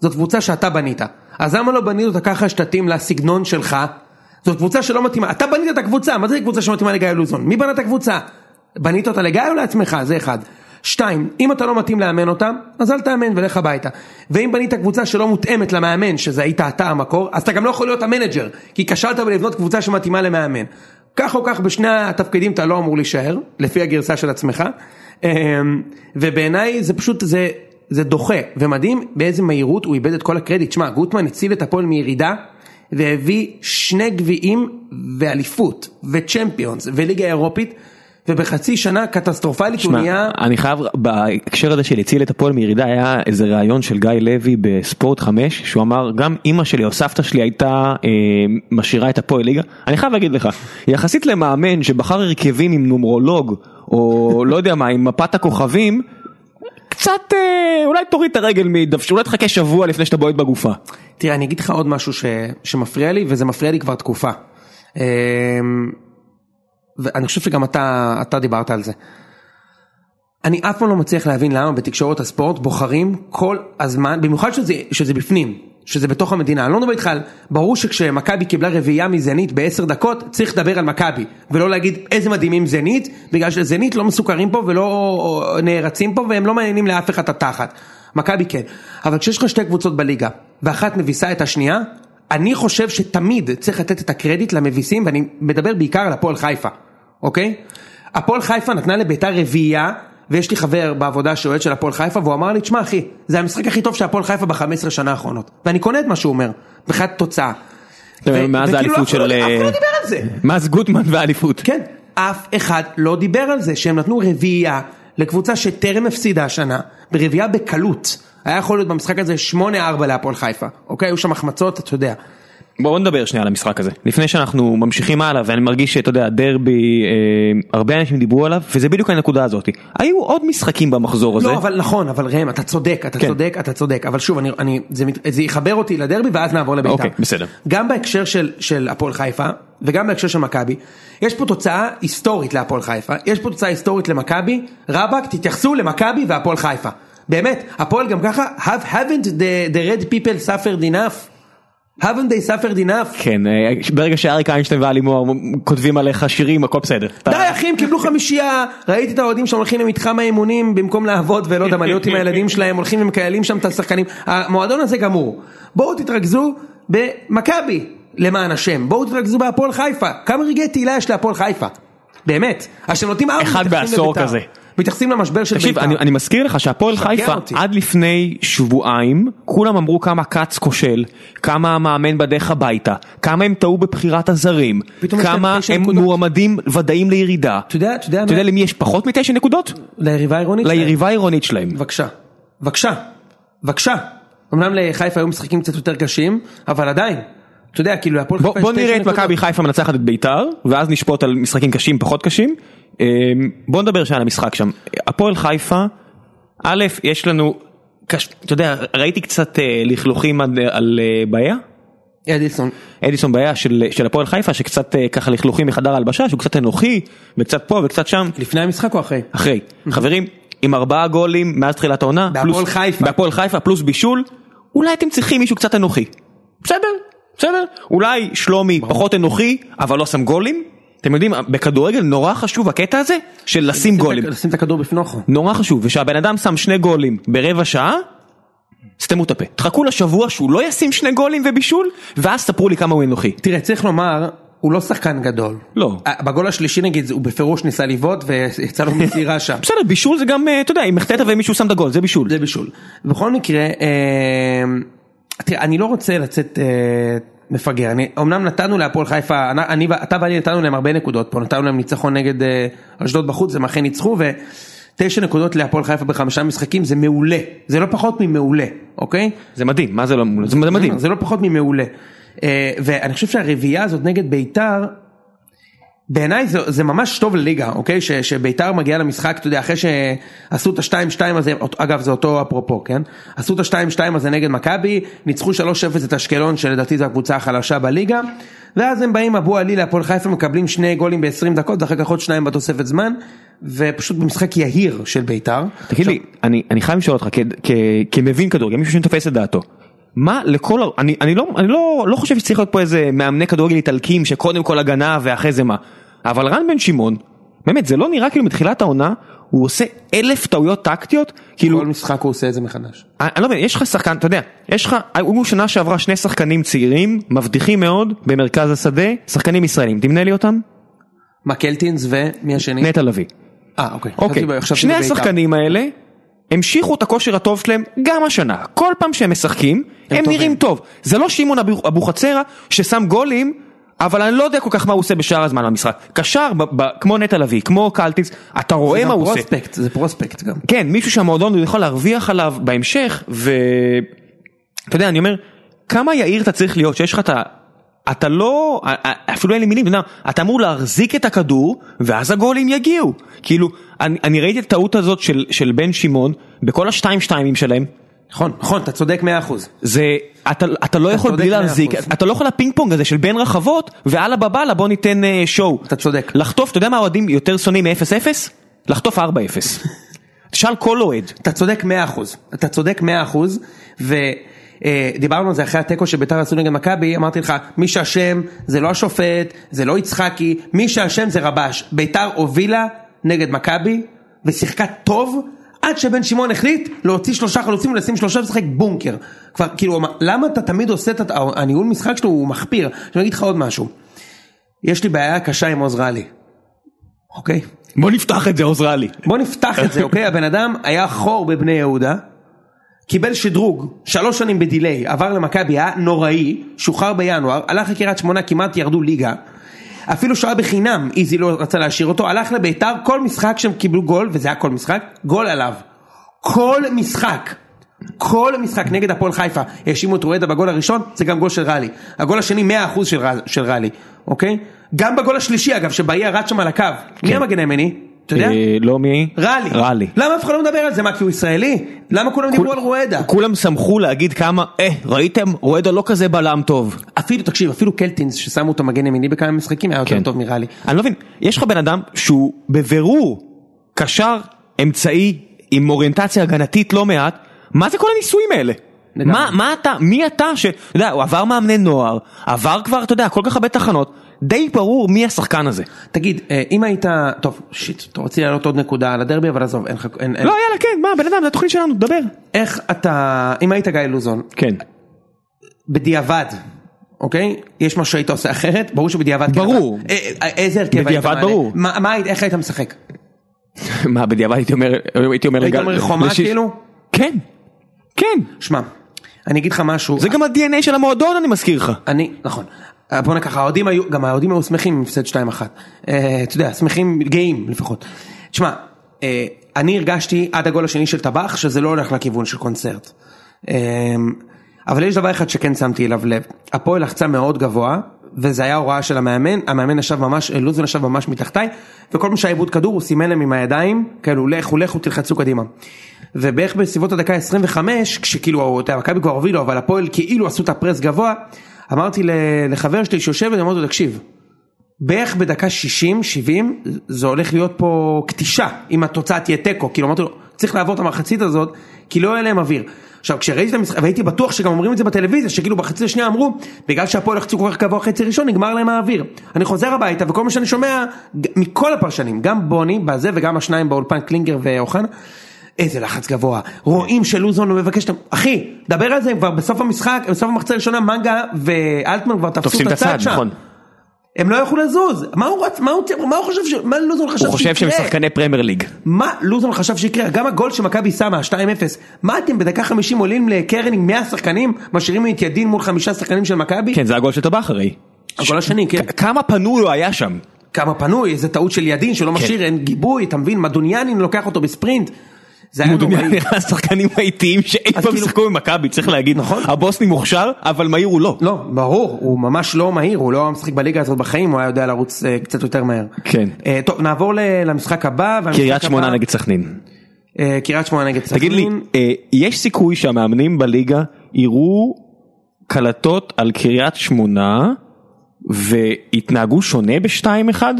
B: זאת קבוצה שאתה בנית. אז למה לא בנית אותה ככה שתתאים לסגנון שלך? זאת קבוצה שלא מתאימה. אתה בנית את הקבוצה, מה זה קבוצה שמתאימה לגיא לוזון? מי בנה את הקבוצה? בנית אותה לגיא או לעצמך? זה אחד. שתיים, אם אתה לא מתאים לאמן אותה, אז אל תאמן ולך הביתה. ואם בנית קבוצה שלא מותאמת למאמן, שזה היית אתה המקור, אז אתה גם לא יכול להיות המנג'ר, כי כשלת בלבנות קבוצה שמתאימה למאמן. כך או כך בשני התפקידים אתה לא אמור להישאר, לפי הגרסה של עצמך. אמ, ובעיניי זה פשוט, זה, זה דוחה, ומדהים באיזה מהירות הוא איבד את כל הקרדיט. שמע, גוטמן הציל את הפועל מירידה, והביא שני גביעים ואליפות, וצ'מפיונס, וליגה אירופית, ובחצי שנה קטסטרופלית הוא
A: שמע,
B: נהיה...
A: אני חייב, בהקשר הזה של הציל את הפועל מירידה היה איזה ראיון של גיא לוי בספורט 5 שהוא אמר גם אימא שלי או סבתא שלי הייתה אה, משאירה את הפועל ליגה. אני חייב להגיד לך, יחסית למאמן שבחר הרכבים עם נומרולוג או לא יודע מה עם מפת הכוכבים. קצת אה, אולי תוריד את הרגל מדף, אולי תחכה שבוע לפני שאתה בועט בגופה.
B: תראה, אני אגיד לך עוד משהו ש... שמפריע לי, וזה מפריע לי כבר תקופה. אמ, ואני חושב שגם אתה, אתה דיברת על זה. אני אף פעם לא מצליח להבין למה בתקשורת הספורט בוחרים כל הזמן, במיוחד שזה, שזה בפנים, שזה בתוך המדינה. אני לא מדבר איתך על, ברור שכשמכבי קיבלה רביעייה מזנית בעשר דקות, צריך לדבר על מכבי, ולא להגיד איזה מדהימים זנית, בגלל שזנית לא מסוכרים פה ולא נערצים פה והם לא מעניינים לאף אחד את התחת. מכבי כן. אבל כשיש לך שתי קבוצות בליגה, ואחת מביסה את השנייה, אני חושב שתמיד צריך לתת את הקרדיט למביסים, ואני מדבר בעיקר על הפועל חיפה, אוקיי? הפועל חיפה נתנה לביתר רביעייה, ויש לי חבר בעבודה שאוהד של הפועל חיפה, והוא אמר לי, תשמע אחי, זה המשחק הכי טוב של הפועל חיפה ב-15 שנה האחרונות. ואני קונה את מה שהוא אומר, מבחינת תוצאה. ו-
A: מאז האליפות
B: וכאילו אף אחד לא-
A: של...
B: אף אחד לא
A: אה,
B: דיבר על זה.
A: מאז גוטמן והאליפות.
B: כן, אף אחד לא דיבר על זה שהם נתנו רביעייה לקבוצה שטרם הפסידה השנה, ברביעייה בקלות. היה יכול להיות במשחק הזה 8-4 להפועל חיפה, אוקיי? היו שם החמצות, אתה יודע.
A: בואו נדבר שנייה על המשחק הזה לפני שאנחנו ממשיכים הלאה ואני מרגיש שאתה יודע דרבי אה, הרבה אנשים דיברו עליו וזה בדיוק הנקודה הזאת היו עוד משחקים במחזור הזה
B: לא, אבל נכון, אבל ראם, אתה צודק, אתה
A: כן.
B: צודק, אתה צודק, אבל שוב, אני, אני, זה, מת- זה יחבר אותי לדרבי ואז נעבור לביתר.
A: אוקיי, בסדר.
B: גם בהקשר של, של הפועל חיפה, וגם בהקשר של מכבי, יש פה תוצאה היסטורית להפועל חיפה, יש פה תוצאה היסטורית למכבי, רבאק, תתייחסו למכבי והפועל חיפה. באמת, הפועל גם ככה, have, haven't the, the red people suffered enough? haven't they suffered enough?
A: כן אה, ברגע שאריק איינשטיין ואלי מוהר כותבים עליך שירים הכל בסדר. אתה-
B: די אחי הם קיבלו חמישייה, ראיתי את האוהדים שם הולכים למתחם האימונים במקום לעבוד ולא יודע מה להיות עם הילדים שלהם, הולכים ומקיילים שם את השחקנים, המועדון הזה גמור. בואו תתרכזו במכבי למען השם, בואו תתרכזו בהפועל חיפה, כמה רגעי תהילה יש להפועל חיפה, באמת, אז אתם נותנים ארבע,
A: אחד
B: מתייחסים
A: בעשור
B: לבית"ר.
A: כזה.
B: מתייחסים למשבר של
A: תקשיב
B: בית"ר,
A: אני, אני מזכיר לך שהפועל
B: משגע
A: חיפה
B: אותי.
A: עד לפני שבועיים כולם אמרו כמה כץ כושל כמה המאמן בדרך הביתה כמה הם טעו בבחירת הזרים
B: פתאום יש להם
A: כמה
B: תשע
A: הם
B: נקודות.
A: מועמדים ודאים לירידה
B: אתה יודע, אתה יודע,
A: אתה יודע
B: מה-
A: למי יש פחות מתשע נקודות?
B: ליריבה העירונית, שלהם.
A: ליריבה העירונית שלהם.
B: בבקשה, בבקשה, בבקשה. אמנם לחיפה היו משחקים קצת יותר קשים, אבל עדיין, אתה יודע, כאילו הפועל
A: בוא,
B: חיפה יש
A: בוא נראה
B: תשע
A: את
B: נקודות.
A: מכבי חיפה מנצחת את ביתר ואז נשפוט על משחקים קשים פחות קשים. אמ, בוא נדבר שנייה על המשחק שם. הפועל חיפה, א' יש לנו, קש, אתה יודע ראיתי קצת אה, לכלוכים על, על אה, בעיה.
B: אדיסון,
A: אדיסון בעיה של, של הפועל חיפה שקצת אה, ככה לכלוכים מחדר ההלבשה שהוא קצת אנוכי וקצת פה וקצת שם
B: לפני המשחק או אחרי?
A: אחרי חברים עם ארבעה גולים מאז תחילת העונה
B: בהפועל
A: פלוס-
B: חיפה.
A: בהפועל חיפה פלוס בישול אולי אתם צריכים מישהו קצת אנוכי בסדר בסדר אולי שלומי פחות אנוכי אבל לא שם גולים אתם יודעים בכדורגל נורא חשוב הקטע הזה של לשים גולים
B: לשים את הכדור בפנוכו.
A: נורא חשוב ושהבן אדם שם שני גולים ברבע שעה. סתמו את הפה תחכו לשבוע שהוא לא ישים שני גולים ובישול ואז תספרו לי כמה הוא אנוכי
B: תראה, צריך לומר, הוא לא שחקן גדול.
A: לא.
B: אה, בגול השלישי נגיד, הוא בפירוש ניסה לבעוט ויצא לו מסירה שם.
A: בסדר בישול זה גם אה, אתה יודע אם החטאת ומישהו שם את הגול זה בישול
B: זה בישול. בכל מקרה, אה, תראה, אני לא רוצה לצאת אה, מפגר. אני, אמנם נתנו להפועל חיפה, אני, אני, ו- אתה ואני נתנו להם הרבה נקודות פה, נתנו להם ניצחון נגד אה, אשדוד בחוץ, הם אכן ניצחו, ותשע נקודות להפועל חיפה בחמישה משחקים זה מעולה. זה לא פחות ממעולה, אוקיי?
A: זה מדהים מה זה לא זה מדהים
B: אה, זה לא פחות ממעולה. אה, ואני חושב שהרביעייה הזאת נגד ביתר, בעיניי זה, זה ממש טוב לליגה, אוקיי? ש, שביתר מגיעה למשחק, אתה יודע, אחרי שעשו את ה-2-2 הזה, אות- אגב זה אותו אפרופו, כן? עשו את ה-2-2 הזה נגד מכבי, ניצחו 3-0 את אשקלון, שלדעתי זו הקבוצה החלשה בליגה, ואז הם באים אבו עלי להפועל חיפה, מקבלים שני גולים ב-20 דקות, ואחר כך עוד שניים בתוספת זמן, ופשוט במשחק יהיר של ביתר.
A: תגיד לי, אני, אני חייב לשאול אותך, כ, כ, כמבין כדורגל, מישהו שתופס את דעתו, מה לכל, ה- אני, אני, לא, אני לא, לא חושב שצריך להיות פה איזה מאמני כדורגל איטלקים שקודם כל הגנה ואחרי זה מה, אבל רן בן שמעון, באמת זה לא נראה כאילו מתחילת העונה, הוא עושה אלף טעויות טקטיות, כאילו,
B: כל משחק הוא עושה את זה מחדש.
A: אני אני לא מבין, יש לך שחקן, אתה יודע, יש לך, היו שנה שעברה שני שחקנים צעירים, מבטיחים מאוד, במרכז השדה, שחקנים ישראלים, תמנה לי אותם,
B: מה קלטינס ומי השני?
A: נטע לביא.
B: אה אוקיי.
A: אוקיי,
B: חשבתי- חשבתי
A: שני
B: בביתר.
A: השחקנים האלה המשיכו את הכושר הטוב שלהם גם השנה. כל פעם שהם משחקים, הם, הם
B: טובים.
A: נראים טוב. זה לא שמעון אבו- אבוחצירא ששם גולים, אבל אני לא יודע כל כך מה הוא עושה בשאר הזמן במשחק. קשר, ב- ב- כמו נטע לביא, כמו קלטיס, אתה רואה
B: גם
A: מה הוא עושה.
B: פרוספקט, זה פרוספקט גם.
A: כן, מישהו שהמועדון יכול להרוויח עליו בהמשך, ו... אתה יודע, אני אומר, כמה יאיר אתה צריך להיות שיש לך את ה... אתה לא, אפילו אין לי מילים, אתה יודע, אתה אמור להחזיק את הכדור, ואז הגולים יגיעו. כאילו, אני, אני ראיתי את הטעות הזאת של, של בן שמעון, בכל השתיים שתיימים שלהם,
B: נכון, נכון, אתה צודק 100%.
A: זה, אתה, אתה לא יכול
B: צודק
A: בלי
B: מאה
A: להחזיק,
B: אחוז.
A: אתה לא יכול הפינג פונג הזה של בין רחבות, ואללה בבאללה בוא ניתן אה, שואו.
B: אתה צודק.
A: לחטוף, אתה יודע מה האוהדים יותר שונאים מ-0-0? לחטוף 4-0. תשאל כל אוהד.
B: אתה צודק 100%, אתה צודק 100% ודיברנו אה, על זה אחרי התיקו שביתר עשו נגד מכבי, אמרתי לך מי שאשם זה לא השופט, זה לא יצחקי, מי שאשם זה רבש, ביתר הובילה נגד מכבי ושיחקה טוב עד שבן שמעון החליט להוציא שלושה חלוצים ולשים שלושה ולשחק בונקר. כבר כאילו אמר, למה אתה תמיד עושה את ה- הניהול משחק שלו הוא מחפיר, אני אגיד לך עוד משהו, יש לי בעיה קשה עם עוז רלי, אוקיי?
A: בוא נפתח את זה עוזרה לי.
B: בוא נפתח את זה, אוקיי? הבן אדם היה חור בבני יהודה, קיבל שדרוג, שלוש שנים בדיליי, עבר למכבי, היה נוראי, שוחרר בינואר, הלך לקריית שמונה, כמעט ירדו ליגה. אפילו שהוא היה בחינם, איזי לא רצה להשאיר אותו, הלך לביתר, כל משחק שהם קיבלו גול, וזה היה כל משחק, גול עליו. כל משחק. כל משחק נגד הפועל חיפה האשימו את רואדה בגול הראשון, זה גם גול של רלי. הגול השני 100% של, רל- של רלי, אוקיי? גם בגול השלישי אגב, שבעיה רץ שם על הקו. מי המגן הימני? אתה יודע?
A: אה, לא מי?
B: רלי.
A: רלי.
B: למה אף אחד לא מדבר על זה? מה, כי הוא ישראלי? למה כולם דיברו על רואדה?
A: כולם שמחו להגיד כמה, אה, ראיתם? רואדה לא כזה בלם טוב.
B: אפילו, תקשיב, אפילו קלטינס ששמו אותו מגן ימיני בכמה משחקים היה יותר
A: כן.
B: טוב מרלי.
A: אני לא מבין, יש לך בן אדם שהוא בבירור קשר אמצעי עם אוריינטציה הגנתית לא מעט, מה זה כל הניסויים האלה?
B: לגמרי.
A: מה, מה אתה, מי אתה ש... אתה יודע, הוא עבר מאמני נוער, עבר כבר, אתה יודע, כל כך הרבה תחנות, די ברור מי השחקן הזה.
B: תגיד, אה, אם היית... טוב, שיט, אתה רוצה להעלות עוד נקודה על הדרבי, אבל עזוב, אין לך... אין- אין-
A: לא, יאללה, כן, מה, בן אדם, זה התוכנית שלנו, דבר.
B: איך אתה... אם היית גיא לוזון,
A: כן.
B: בדיעבד, אוקיי? יש משהו שהיית עושה אחרת? ברור שבדיעבד... כן,
A: ברור.
B: אבל- אה, אה, איזה הרכב היית
A: בדיעבד
B: מעלה?
A: ברור.
B: מה, מה היית- איך היית משחק?
A: מה, בדיעבד הייתי אומר, הייתי אומר...
B: היית
A: לגל-
B: אומר חומה
A: לשיש-
B: כאילו?
A: כן, כן.
B: שמע, אני אגיד לך משהו.
A: זה גם ה-DNA של המועדון, אני מזכיר לך.
B: אני, נכון. אה, בוא נקח, האוהדים היו, גם האוהדים היו שמחים עם הפסד 2-1. אה, אתה יודע, שמחים, גאים לפחות. תשמע, אה, אני הרגשתי עד הגול השני של טבח שזה לא הולך לכיוון של קונצרט. אה, אבל יש דבר אחד שכן שמתי אליו לב, הפועל לחצה מאוד גבוה, וזה היה הוראה של המאמן, המאמן ישב ממש, אה, לוזון ישב ממש מתחתיי, וכל פעם שהיה עיבוד כדור הוא סימן להם עם הידיים, כאילו לכו לכו תלחצו קדימה. ובערך בסביבות הדקה 25, כשכאילו, אתה יודע, מכבי כבר הובילו, אבל הפועל כאילו עשו את הפרס גבוה, אמרתי ל- לחבר שלי שיושבת, אמרתי לו, תקשיב, בערך בדקה 60-70, זה הולך להיות פה כתישה, אם התוצאה תהיה תיקו, כאילו אמרתי לו, צריך לעבור את המחצית הזאת, כי לא יהיה להם אוויר. עכשיו כשראיתי את המשחק, והייתי בטוח שגם אומרים את זה בטלוויזיה, שכאילו בחצי השנייה אמרו, בגלל שהפועל לחצו כל כך גבוה חצי ראשון, נגמר להם האוויר. אני חוזר הביתה, וכל מה שאני שומע, ג- מכל הפרשנים, גם בוני, בזה, וגם השניים באולפן, קלינגר ואוחנה, איזה לחץ גבוה, רואים שלוזון הוא מבקש, את ה- אחי, דבר על זה כבר בסוף המשחק, בסוף המחצה הראשונה, מנגה ואלטמן כבר תפסו
A: תופסים
B: את הצד שם.
A: נכון.
B: הם לא יכלו לזוז, מה הוא רצ... מה הוא, צ- מה הוא חושב ש... מה לוזון חשב
A: הוא חושב שהם
B: שיקרה?
A: שחקני פרמייר ליג.
B: מה לוזון חשב שיקרה? גם הגול שמכבי שמה, 2-0, מה אתם בדקה 50 עולים לקרן עם 100 שחקנים, משאירים את ידין מול חמישה שחקנים של מכבי?
A: כן, זה הגול של טבח הרי.
B: הגול השני, כן.
A: כ- כמה פנוי הוא היה שם? כן.
B: כמה פנוי, איזה טעות של ידין שלא משאיר, אין גיבוי, אתה מבין? מדוניאנין לוקח אותו בספרינט. זה היה
A: מודוניה
B: נוראי.
A: נראה השחקנים האיטיים שאי
B: אז
A: פעם
B: כאילו-
A: שיחקו במכבי, צריך להגיד.
B: נכון.
A: הבוסני מוכשר, אבל מהיר הוא לא.
B: לא, ברור, הוא ממש לא מהיר, הוא לא היה משחק בליגה הזאת בחיים, הוא היה יודע לרוץ אה, קצת יותר מהר.
A: כן.
B: אה, טוב, נעבור ל- למשחק הבא. והמשחק
A: קריית שמונה
B: הבא-
A: נגד סכנין.
B: אה, קריית שמונה נגד סכנין.
A: תגיד לי, אה, יש סיכוי שהמאמנים בליגה יראו קלטות על קריית שמונה והתנהגו שונה בשתיים אחד?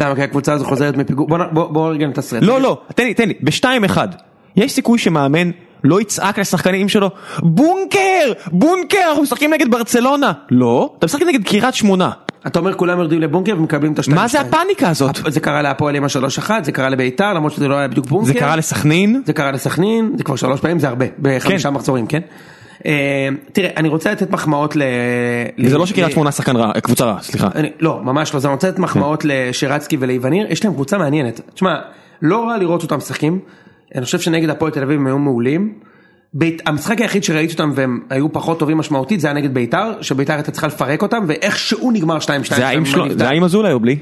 B: למה? כי הקבוצה הזו חוזרת מפיגור. בוא נ- בוא בוא רגע נתסרט.
A: לא, לא, תן לי, תן לי, בשתיים אחד. יש סיכוי שמאמן לא יצעק לשחקנים שלו, בונקר! בונקר! אנחנו משחקים נגד ברצלונה! לא, אתה משחק נגד קריית שמונה.
B: אתה אומר כולם יורדים לבונקר ומקבלים את השתיים.
A: מה זה
B: שתיים.
A: הפאניקה הזאת?
B: זה קרה להפועל עם השלוש אחת, זה קרה לביתר, למרות שזה לא היה בדיוק בונקר.
A: זה קרה לסכנין?
B: זה קרה לסכנין, זה כבר שלוש פעמים, זה הרבה, בחמישה
A: כן.
B: מחזורים, כן? אה, תראה, אני רוצה לתת מחמאות ל...
A: זה
B: ל-
A: לא שקריית
B: ל-
A: שמונה שחקן רע, אה, קבוצה רעה, סליחה.
B: אני, לא, ממש לא, זה אני רוצה לתת מחמאות
A: כן.
B: לשירצקי ולאיווניר, יש להם קבוצה מעניינת. תשמע, לא רע לראות אותם משחקים, אני חושב שנגד הפועל תל אביב הם היו מעולים. בית, המשחק היחיד שראיתי אותם והם היו פחות טובים משמעותית זה היה נגד ביתר, שביתר הייתה צריכה לפרק אותם, ואיכשהו נגמר 2-2.
A: זה היה עם שלו- זה היה עם אזולאי או בלי?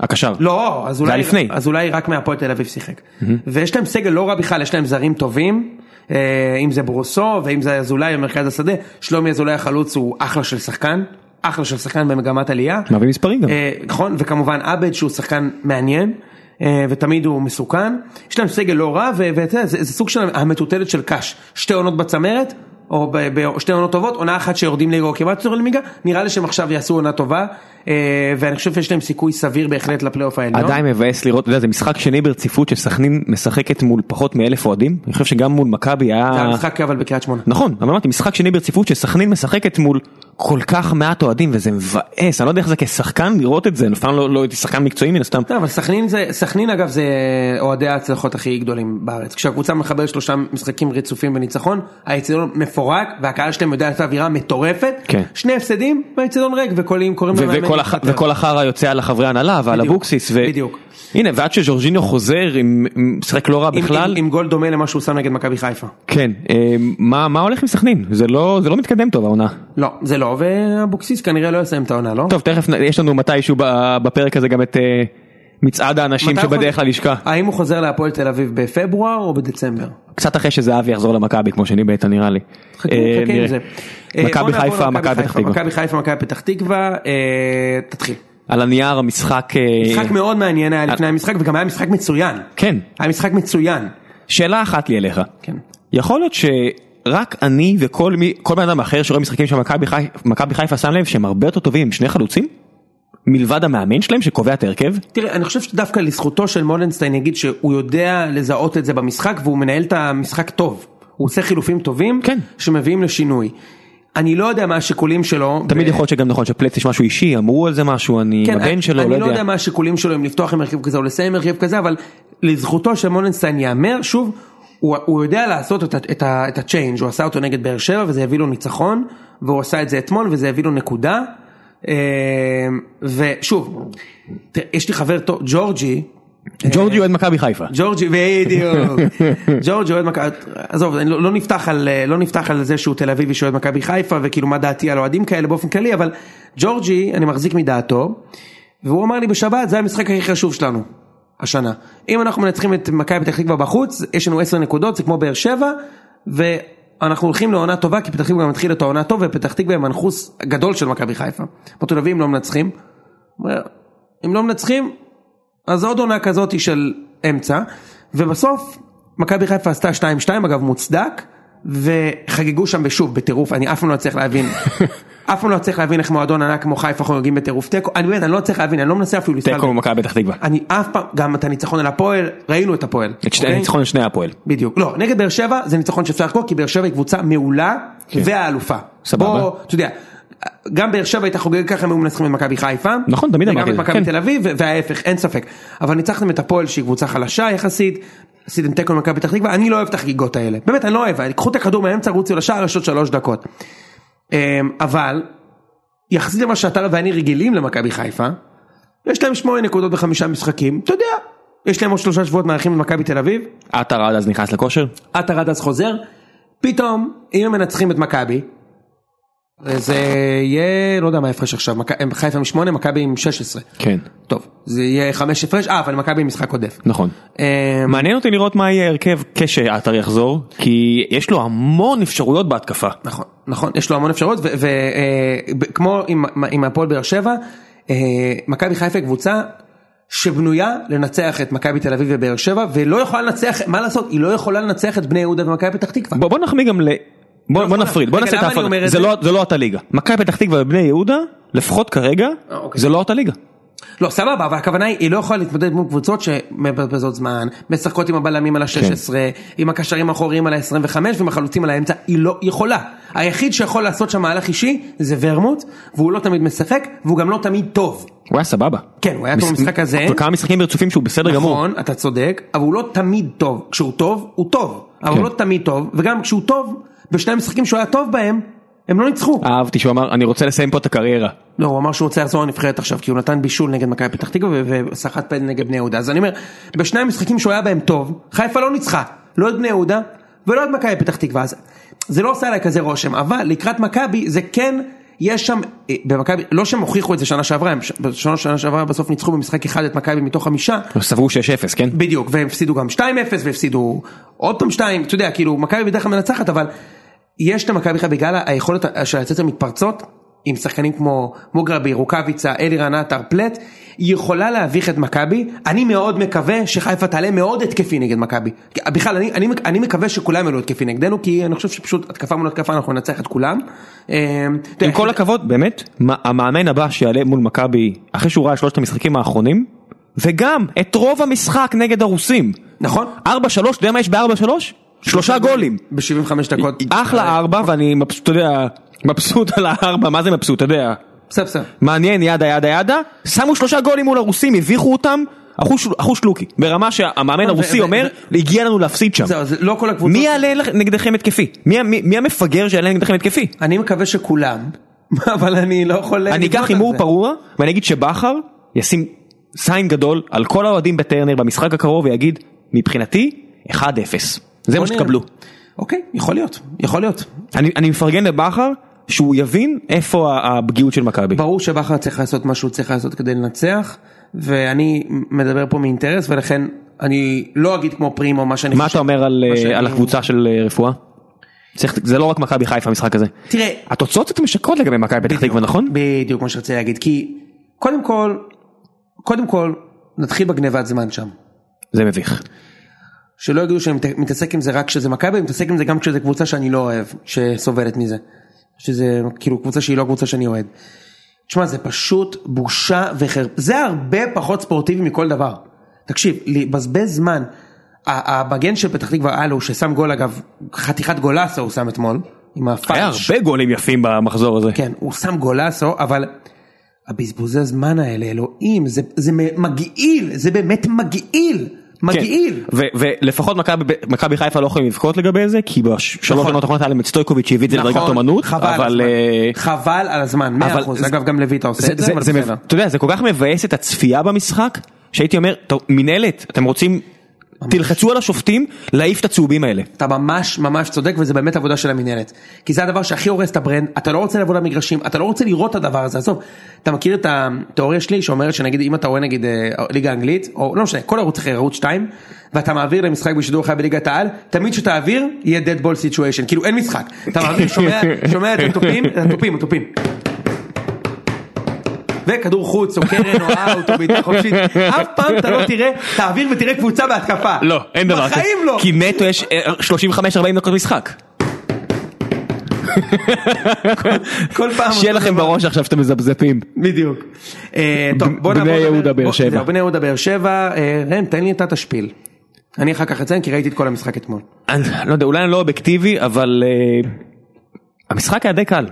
A: הקשר.
B: לא, אז
A: זה
B: אולי,
A: היה לפני.
B: אז אולי רק מהפועל תל אביב שיחק. ויש להם סגל לא רע בכלל, יש להם זרים טובים, אה, אם זה ברוסו ואם זה אזולאי במרכז השדה, שלומי אזולאי החלוץ הוא אחלה של שחקן, אחלה של שחקן במגמת עלייה.
A: מביא מספרים גם. לא?
B: אה, נכון, וכמובן עבד שהוא שחקן מעניין, אה, ותמיד הוא מסוכן. יש להם סגל לא רע, ו- ואתה יודע, זה, זה סוג של המטוטלת של קאש. שתי עונות בצמרת, או ב- ב- שתי עונות טובות, עונה אחת שיורדים ליגה או כמעט יורדים ליגה, נראה לי שהם עכשיו יעשו עונה טובה, אה, ואני חושב שיש להם סיכוי סביר בהחלט לפלייאוף העליון.
A: עדיין מבאס לראות, אתה יודע, זה משחק שני ברציפות שסכנין משחקת מול פחות מאלף אוהדים, אני חושב שגם מול מכבי היה...
B: זה המשחק אבל בקריית שמונה.
A: נכון, אבל אמרתי, משחק שני ברציפות שסכנין משחקת מול כל כך מעט אוהדים וזה מבאס, אני לא יודע איך זה כשחקן לראות את זה, אני אף פעם לא לא הייתי שחקן מקצועי מן הסתם.
B: לא, אבל סכנין זה, סכנין אגב זה אה, אוהדי ההצלחות הכי גדולים בארץ. כשהקבוצה מחברת שלושה משחקים רצופים בניצחון, האיצטדיון מפורק והקהל שלהם יודע את האווירה המטורפת.
A: כן.
B: שני הפסדים והאיצטדיון ריק וקוראים קוראים
A: ו-
B: למאמן
A: וכל הח-
B: להתפטר.
A: וכל החרא יוצא על החברי הנהלה ועל
B: בדיוק,
A: אבוקסיס. ו-
B: בדיוק.
A: הנה, ועד שז'ורג'יניו חוזר, עם- עם- משחק לא רע
B: עם-
A: בכלל.
B: עם- עם גול דומה למה שהוא שם נגד מכבי חיפה.
A: כן, אה, מה מה הולך עם סכנין? זה לא זה לא מתקדם טוב העונה.
B: לא, זה לא, ואבוקסיס כנראה לא יסיים את העונה, לא?
A: טוב, תכף נ- יש לנו מתישהו ב- בפרק הזה גם את אה, מצעד האנשים
B: מתי הוא
A: שבדרך
B: חוזר?
A: ללשכה.
B: האם הוא חוזר להפועל תל אביב בפברואר או בדצמבר?
A: קצת אחרי שזהבי יחזור למכבי כמו שני בית"ר נראה לי.
B: חכה,
A: אה,
B: חכה עם
A: נראה.
B: זה. אה, בוא
A: מכבי
B: נעבור
A: חיפה,
B: למכבי
A: מכבי פתח
B: חיפה,
A: תקווה.
B: מכבי חיפה, מכבי פתח תקווה, אה, תתחיל.
A: על הנייר המשחק, אה,
B: משחק מאוד מעניין היה לפני המשחק וגם היה משחק מצוין.
A: כן,
B: היה משחק מצוין.
A: שאלה אחת לי אליך.
B: כן.
A: יכול להיות שרק אני וכל מי, כל בן אדם אחר שרואה משחקים של מכבי חי- מכבי חיפה שם לב שהם הרבה יותר טובים עם שני חלוצים? מלבד המאמן שלהם שקובע את ההרכב?
B: תראה, אני חושב שדווקא לזכותו של מולנשטיין יגיד שהוא יודע לזהות את זה במשחק והוא מנהל את המשחק טוב. הוא עושה חילופים טובים
A: כן.
B: שמביאים לשינוי. אני לא יודע מה השיקולים שלו.
A: תמיד
B: ו-
A: יכול להיות שגם נכון שפלץ יש משהו אישי, אמרו על זה משהו, אני
B: כן,
A: הבן
B: אני-
A: שלו,
B: אני
A: לא יודע.
B: מה השיקולים שלו אם לפתוח עם הרכב כזה או לסיים עם הרכב כזה, אבל לזכותו של מולנשטיין ייאמר, שוב, הוא, הוא יודע לעשות את, ה- את, ה- את הצ'יינג', הוא עשה אותו נגד באר שבע וזה הביא לו ניצחון, והוא עשה את זה אתמול וזה הביא לו נקודה. אה, ושוב, תראה, יש לי חבר טוב, ג'ורג'י,
A: ג'ורג'י אוהד מכבי חיפה.
B: ג'ורג'י, בדיוק. ג'ורג'י אוהד מכבי, עזוב, אני לא, לא, נפתח על, אה, לא נפתח על זה שהוא תל אביבי שאוהד מכבי חיפה, וכאילו מה דעתי על אוהדים כאלה באופן כללי, אבל ג'ורג'י, אני מחזיק מדעתו, והוא אמר לי בשבת, זה המשחק הכי חשוב שלנו, השנה. אם אנחנו מנצחים את מכבי פתח תקווה בחוץ, יש לנו 10 נקודות, זה כמו באר שבע, ואנחנו הולכים לעונה טובה, כי פתח תקווה גם התחילה את העונה טוב, ופתח תקווה הם מנחוס גדול של מכבי חיפה. בתל אביב הם לא מנצחים. אם לא מנצחים, אז עוד עונה כזאת של אמצע, ובסוף מכבי חיפה עשתה 2-2, אגב מוצדק, וחגגו שם בשוב בטירוף, אני אף פעם לא אצליח להבין, אף פעם לא אצליח להבין איך מועדון ענק כמו חיפה חוגגים בטירוף תיקו, אני באמת, אני לא אצליח להבין, אני לא מנסה אפילו לסתכל,
A: תיקו במכבי פתח תקווה.
B: אני אף פעם, גם את הניצחון על הפועל, ראינו את הפועל,
A: את שתי
B: אוקיי?
A: הניצחון על שני הפועל.
B: בדיוק, לא, נגד באר שבע זה ניצחון שאפשר לחגוג, כי באר שבע היא קבוצה מעולה,
A: כן.
B: והאלופה,
A: סבבה.
B: בוא, אתה יודע, גם באר שבע הייתה חוגגת ככה אם היו מנצחים את מכבי חיפה,
A: נכון, תמיד
B: וגם
A: אמרתי
B: את
A: את זה,
B: מכבי
A: כן.
B: תל אביב, ו- וההפך, אין ספק. אבל ניצחתם את הפועל שהיא קבוצה חלשה יחסית, עשיתם תיקו למכבי פתח תקווה, אני לא אוהב את החגיגות האלה, באמת אני לא אוהב, קחו את הכדור מהאמצע, רוצו לשער, יש עוד שלוש דקות. אמ, אבל, יחסית למה שאתה ואני רגילים למכבי חיפה, יש להם שמונה נקודות בחמישה משחקים, אתה יודע, יש להם עוד שלושה שבועות מארחים למכבי תל אביב,
A: עטר עד אז נכנס לכושר?
B: עטר עד אז חוזר, פתאום אם הם מנצחים את מכבי, זה יהיה, לא יודע מה ההפרש עכשיו, מכ- הם חיפה עם 8, מכבי עם 16.
A: כן,
B: טוב, זה יהיה 5 הפרש, אה, אבל מכבי עם משחק עודף.
A: נכון.
B: אה,
A: מעניין אותי לראות מה יהיה ההרכב כשעטר יחזור, כי יש לו המון אפשרויות בהתקפה.
B: נכון, נכון, יש לו המון אפשרויות, וכמו עם, עם הפועל באר שבע, אה, מכבי חיפה היא קבוצה שבנויה לנצח את מכבי תל אביב ובאר שבע, ולא יכולה לנצח, מה לעשות, היא לא יכולה לנצח את בני יהודה ומכבי פתח תקווה.
A: בוא, בוא נחמיא גם ל... בוא, בוא
B: נכון.
A: נפריד, בוא
B: רגע,
A: נעשה את
B: למה אני
A: ההפרדה,
B: אומר את
A: זה,
B: זה?
A: לא, זה לא אותה ליגה. מכבי פתח תקווה ובני יהודה, לפחות כרגע,
B: אה, אוקיי.
A: זה לא אותה ליגה.
B: לא, סבבה, אבל הכוונה היא, היא לא יכולה להתמודד מול קבוצות שמבזבזות זמן, משחקות עם הבלמים
A: כן.
B: על ה-16, עם הקשרים האחוריים על ה-25 ועם החלוצים על האמצע, היא לא יכולה. היחיד שיכול לעשות שם מהלך אישי זה ורמוט, והוא לא תמיד משחק, והוא גם לא תמיד טוב.
A: הוא היה סבבה.
B: כן, הוא היה טוב במשחק הזה.
A: וכמה משחקים ברצופים שהוא בסדר גמור.
B: נכון, אתה צודק, אבל הוא לא תמיד טוב. כשהוא טוב, הוא טוב. אבל
A: כן.
B: הוא לא תמיד טוב, וגם כשהוא טוב, בשני המשחקים שהוא היה טוב בהם, הם לא ניצחו.
A: אהבתי שהוא אמר, אני רוצה לסיים פה את הקריירה.
B: לא, הוא אמר שהוא רוצה לחזור לנבחרת עכשיו, כי הוא נתן בישול נגד מכבי פתח תקווה ו- וסחט פנדל נגד בני יהודה. אז אני אומר, בשני המשחקים שהוא היה בהם טוב, חיפה לא ניצחה. לא את בני יהודה ולא את מכבי פתח תקווה. אז זה לא עושה עליי כזה רושם, אבל לקראת מכבי זה כן, יש שם, אה, במכבי, לא שהם הוכיחו את זה שנה שעברה, הם ש- בשנה שנה שעברה בסוף ניצחו במשחק אחד את מכבי מתוך חמישה,
A: סברו 6-0, כן?
B: בדיוק, והם הפסידו גם 2-0 והפסידו עוד פעם 2, אתה יודע, כאילו, מכבי בדרך כלל מנצחת, אבל יש למכבי חיפה בגלל היכולת של לצאת למתפרצות, עם שחקנים כמו מוגרבי, רוקאביצה, אלירן עטר, פלט, היא יכולה להביך את מכבי, אני מאוד מקווה שחיפה תעלה מאוד התקפי נגד מכבי. בכלל, אני, אני, אני מקווה שכולם יעלו התקפי נגדנו, כי אני חושב שפשוט התקפה מול התקפה אנחנו ננצח את כולם. אה, אתה
A: עם
B: יודע,
A: כל הכבוד, באמת, מה- המאמן הבא שיעלה מול מכבי, אחרי שהוא ראה שלושת המשחקים האחרונים, וגם את רוב המשחק נגד הרוסים.
B: נכון?
A: 4-3, אתה יודע מה יש ב-4-3? שלושה גולים.
B: ב-75 דקות.
A: אחלה
B: אה.
A: ארבע, ואני מבסוט, אתה יודע, מבסוט על הארבע, מה זה מבסוט, אתה יודע.
B: בסדר, בסדר.
A: מעניין, ידה ידה ידה. שמו שלושה גולים מול הרוסים, הביכו אותם, אחוש אחוש לוקי. ברמה שהמאמן
B: ו-
A: הרוסי
B: ו-
A: אומר, הגיע לנו להפסיד שם.
B: זהו, זה לא כל הקבוצות.
A: מי יעלה לכ- נגדכם התקפי? מי ה- מי מי המפגר שיעלה נגדכם התקפי?
B: אני מקווה שכולם, אבל אני לא יכול...
A: אני
B: לבנות
A: אקח
B: על
A: הימור
B: זה.
A: פרוע ואני אגיד שבכר ישים סיין גדול על כל האוהדים בטרנר במשחק הקרוב ויגיד מבחינתי 1-0 זה מה
B: בוא נראה.
A: שתקבלו.
B: אוקיי, יכול להיות, יכול להיות.
A: אני אני מפרגן לבכר שהוא יבין איפה ה- הפגיעות של מכבי.
B: ברור שבכר צריך לעשות מה שהוא צריך לעשות כדי לנצח, ואני מדבר פה מאינטרס, ולכן אני לא אגיד כמו פרימו מה שאני
A: מה אתה אומר על
B: מה
A: אה,
B: שאני-
A: על הקבוצה של אה, רפואה? צריך- זה לא רק מכבי חיפה המשחק הזה.
B: תראה,
A: התוצאות קצת משקרות לגבי מכבי פתח תקווה נכון?
B: בדיוק מה שרציתי להגיד, כי קודם כל, קודם כל, נתחיל בגניבת זמן שם.
A: זה מביך.
B: שלא יגידו שאני מת- מתעסק עם זה רק כשזה מכבי, אני מתעסק עם זה גם כשזה קבוצה שאני לא אוהב, שסובלת מזה. שזה כאילו קבוצה שהיא לא קבוצה שאני אוהד. תשמע, זה פשוט בושה וחרפה. זה הרבה פחות ספורטיבי מכל דבר. תקשיב, לבזבז זמן. ה- המגן של פתח תקווה אלו, ששם גול אגב, חתיכת גולסה הוא שם אתמול, עם
A: היה
B: הפאנץ'.
A: הרבה גולים יפים במחזור הזה.
B: אה, כן, הוא שם גולסו, אבל הבזבוזי הזמן האלה, אלוהים, זה, זה מגעיל, זה באמת מגעיל, מגעיל.
A: כן. ו- ולפחות מכבי- מכבי חיפה לא יכולים לבכות לגבי זה כי בשלוש
B: נכון.
A: שנות האחרונות היה להם את סטויקוביץ' שהביא את זה לדרגת אומנות
B: חבל
A: אבל
B: על
A: אה,
B: הזמן, חבל על הזמן, מאה
A: אבל
B: אחוז,
A: זה-
B: אגב גם לויטה עושה
A: זה-
B: את
A: זה-
B: זה, אבל
A: זה מב-
B: בסדר.
A: אתה יודע זה כל כך מבאס את הצפייה במשחק שהייתי אומר טוב מנהלת אתם רוצים תלחצו על השופטים להעיף את הצהובים האלה.
B: אתה ממש ממש צודק וזה באמת עבודה של המינהלת. כי זה הדבר שהכי הורס את הברנד, אתה לא רוצה לבוא למגרשים, אתה לא רוצה לראות את הדבר הזה, עזוב. אתה מכיר את התיאוריה שלי שאומרת שנגיד אם אתה רואה נגיד אה, ליגה אנגלית, או לא משנה, כל ערוץ אחר, ערוץ 2, ואתה מעביר למשחק בשידור חי בליגת העל, תמיד שתעביר יהיה dead ball situation, כאילו אין משחק. אתה מעביר, שומע, שומע את התופים, את התופים, התופים. וכדור חוץ או קרן או אאוט או בעיטה חופשית, אף פעם אתה לא תראה, תעביר ותראה קבוצה בהתקפה. בחיים לא.
A: כי נטו יש אה, 35-40 דקות משחק.
B: כל פעם.
A: שיהיה לכם בראש עכשיו שאתם מזפזפים.
B: בדיוק. אה, טוב, בוא
A: בני
B: נעבור לדבר-
A: יהודה, באר
B: בוא-
A: שבע.
B: זהו, בני יהודה באר שבע, אה, ראם תן לי אתה תשפיל. אני אחר כך אציין כי ראיתי את כל המשחק אתמול.
A: אני לא יודע אולי אני לא אובייקטיבי אבל אה, המשחק היה די קל.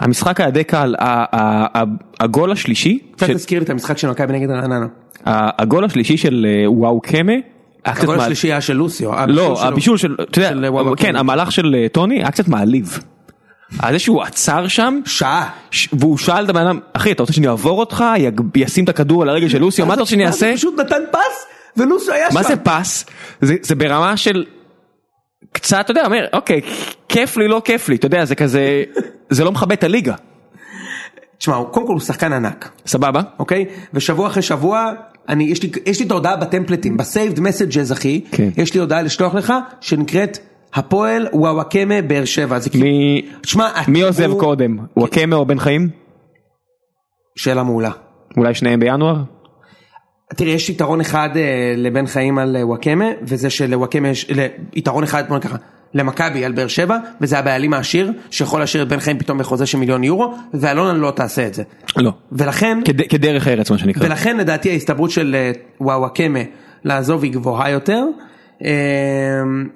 A: המשחק היה די קל ה- ה- ה- הגול השלישי.
B: קצת
A: של-
B: תזכיר לי את המשחק של מכבי נגד רעננה.
A: ה- הגול השלישי של אה, וואו קמה. היה קצת
B: הגול
A: מעל-
B: השלישי היה של לוסיו. אה,
A: לא,
B: שלו.
A: הבישול של, אתה
B: של אה,
A: יודע,
B: וואו
A: כן,
B: קמה.
A: המהלך של אה, טוני היה קצת מעליב. על זה שהוא עצר שם,
B: שעה.
A: ש- והוא שאל את הבן אדם, אחי אתה רוצה שאני אעבור אותך, יג- ישים את הכדור על הרגל של לוסיו, מה אתה רוצה שאני
B: ואז
A: אעשה?
B: הוא פשוט נתן פס ולוסיו היה שם.
A: מה זה פס? זה זה ברמה של, קצת, אתה יודע, אומר, אוקיי, כיף לי, לא כיף לי, אתה יודע, זה כזה, זה לא מכבד את הליגה,
B: תשמע, הוא- קודם כל הוא שחקן ענק,
A: סבבה?
B: אוקיי? ושבוע אחרי שבוע, אני, יש, לי, יש לי את ההודעה בטמפלטים, בסייבד מסג'ז אחי,
A: כן.
B: יש לי הודעה לשלוח לך, שנקראת הפועל וואוואקמה באר שבע. זה כאילו,
A: מי,
B: תשמע,
A: מי
B: הציבור-
A: עוזב קודם? וואקמה או בן חיים?
B: שאלה מעולה.
A: אולי שניהם בינואר?
B: תראה, יש יתרון אחד אה, לבן חיים על אה, וואקמה, וזה שלוואקמה יש ל- יתרון אחד, בוא נקרא, למכבי על באר שבע, וזה הבעלים העשיר, שיכול להשאיר את בן חיים פתאום בחוזה של מיליון יורו, ואלונה לא תעשה את זה.
A: לא.
B: ולכן,
A: כד- כדרך ארץ מה שנקרא.
B: ולכן לדעתי ההסתברות של אה, וואוואקמה לעזוב היא גבוהה יותר. אה,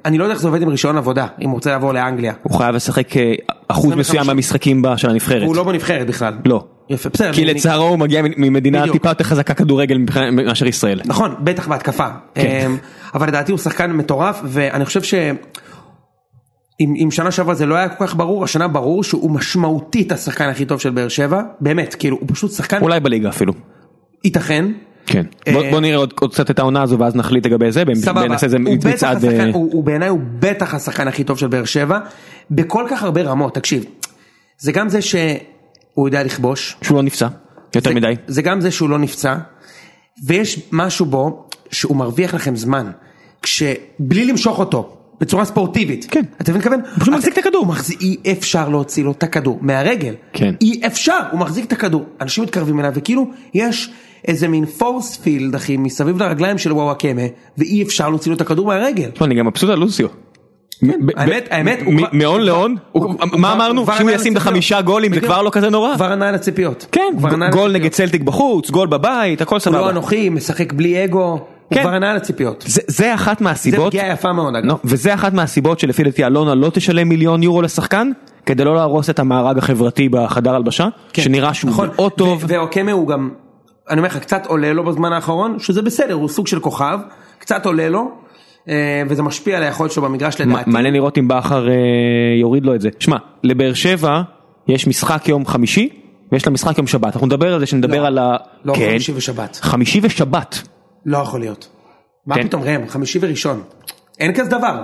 B: אני לא יודע איך זה עובד עם רישיון עבודה, אם הוא רוצה לעבור לאנגליה.
A: הוא חייב לשחק אה, אחוז
B: 25.
A: מסוים מהמשחקים ב- של הנבחרת.
B: הוא לא בנבחרת בכלל.
A: לא.
B: יפה, בסדר.
A: כי
B: אני-
A: לצערו הוא מגיע מ- ממדינה
B: בדיוק.
A: טיפה יותר חזקה כדורגל מבחינה- מאשר ישראל.
B: נכון, בטח בהתקפה.
A: כן.
B: אמ, אבל לדעתי הוא שחקן מטורף, ואני חושב ש... אם, אם שנה שעברה זה לא היה כל כך ברור, השנה ברור שהוא משמעותית השחקן הכי טוב של באר שבע, באמת, כאילו, הוא פשוט שחקן,
A: אולי בליגה אפילו.
B: ייתכן,
A: כן. בוא-
B: אה,
A: בוא נראה עוד עוד קצת את העונה הזו ואז נחליט לגבי זה. בין-
B: סבבה,
A: ונעשה איזה
B: הוא, בטח
A: מצעד...
B: השחקן,
A: אה,
B: הוא, הוא בעיניי הוא בטח השחקן הכי טוב של באר שבע, בכל כך הרבה רמות, תקשיב, זה גם זה שהוא יודע לכבוש,
A: שהוא לא נפצע. יותר
B: זה-
A: מדי.
B: זה גם זה שהוא לא נפצע, ויש משהו בו שהוא מרוויח לכם זמן, כשבלי למשוך אותו. בצורה ספורטיבית.
A: כן.
B: אתה מבין מה אני מתכוון?
A: פשוט מחזיק את הכדור.
B: הוא מחזיק, אי אפשר להוציא לו את הכדור מהרגל.
A: כן.
B: אי אפשר, הוא מחזיק את הכדור. אנשים מתקרבים אליו, וכאילו יש איזה מין פורס פילד, אחי, מסביב לרגליים של וואוואקמה, ואי אפשר להוציא לו את הכדור מהרגל.
A: תשמע, אני גם מבסוט על לוסיו. ב- ב-
B: האמת- האמת, הוא
A: מ-
B: כבר-
A: מהון להון, הוא-
B: הוא-
A: מה
B: הוא-
A: אמרנו?
B: הוא כבר
A: שהוא
B: ענה
A: ישים את
B: לציפיות.
A: החמישה גולים זה
B: בדיוק.
A: כבר לא כזה נורא?
B: כבר ענה על הציפיות.
A: כן,
B: כבר ענה על
A: גול
B: הציפיות.
A: נגד צלטיק בחוץ, גול בבית, הכל
B: הוא לא
A: סבבה.
B: אנוכי, משחק בלי אגו, הוא
A: כן.
B: כבר ענה על הציפיות.
A: זה- זה אחת
B: זה
A: מהסיבות,
B: פגיעה יפה מאוד, אגב.
A: לא, וזה אחת מהסיבות שלפי דעתי אלונה לא תשלם מיליון יורו לשחקן, כדי לא להרוס את המארג החברתי בחדר הלבשה,
B: כן,
A: שנראה שהוא
B: נכון.
A: מאוד טוב,
B: ו- ואוקמה הוא גם, אני אומר לך, קצת עולה לו בזמן האחרון, שזה בסדר, הוא סוג של כוכב, קצת עולה לו, אה, וזה משפיע על היכולת שלו במגרש לדעתי.
A: מ- מעניין לראות אם בכר אה, יוריד לו את זה. שמע, לבאר שבע יש משחק יום חמישי, ויש לה משחק יום שבת, אנחנו נדבר על זה, שנדבר
B: לא.
A: על ה...
B: לא,
A: כן.
B: חמישי ושבת.
A: חמישי ושבת.
B: לא יכול להיות. מה
A: כן.
B: פתאום ראם, חמישי וראשון. אין כזה דבר.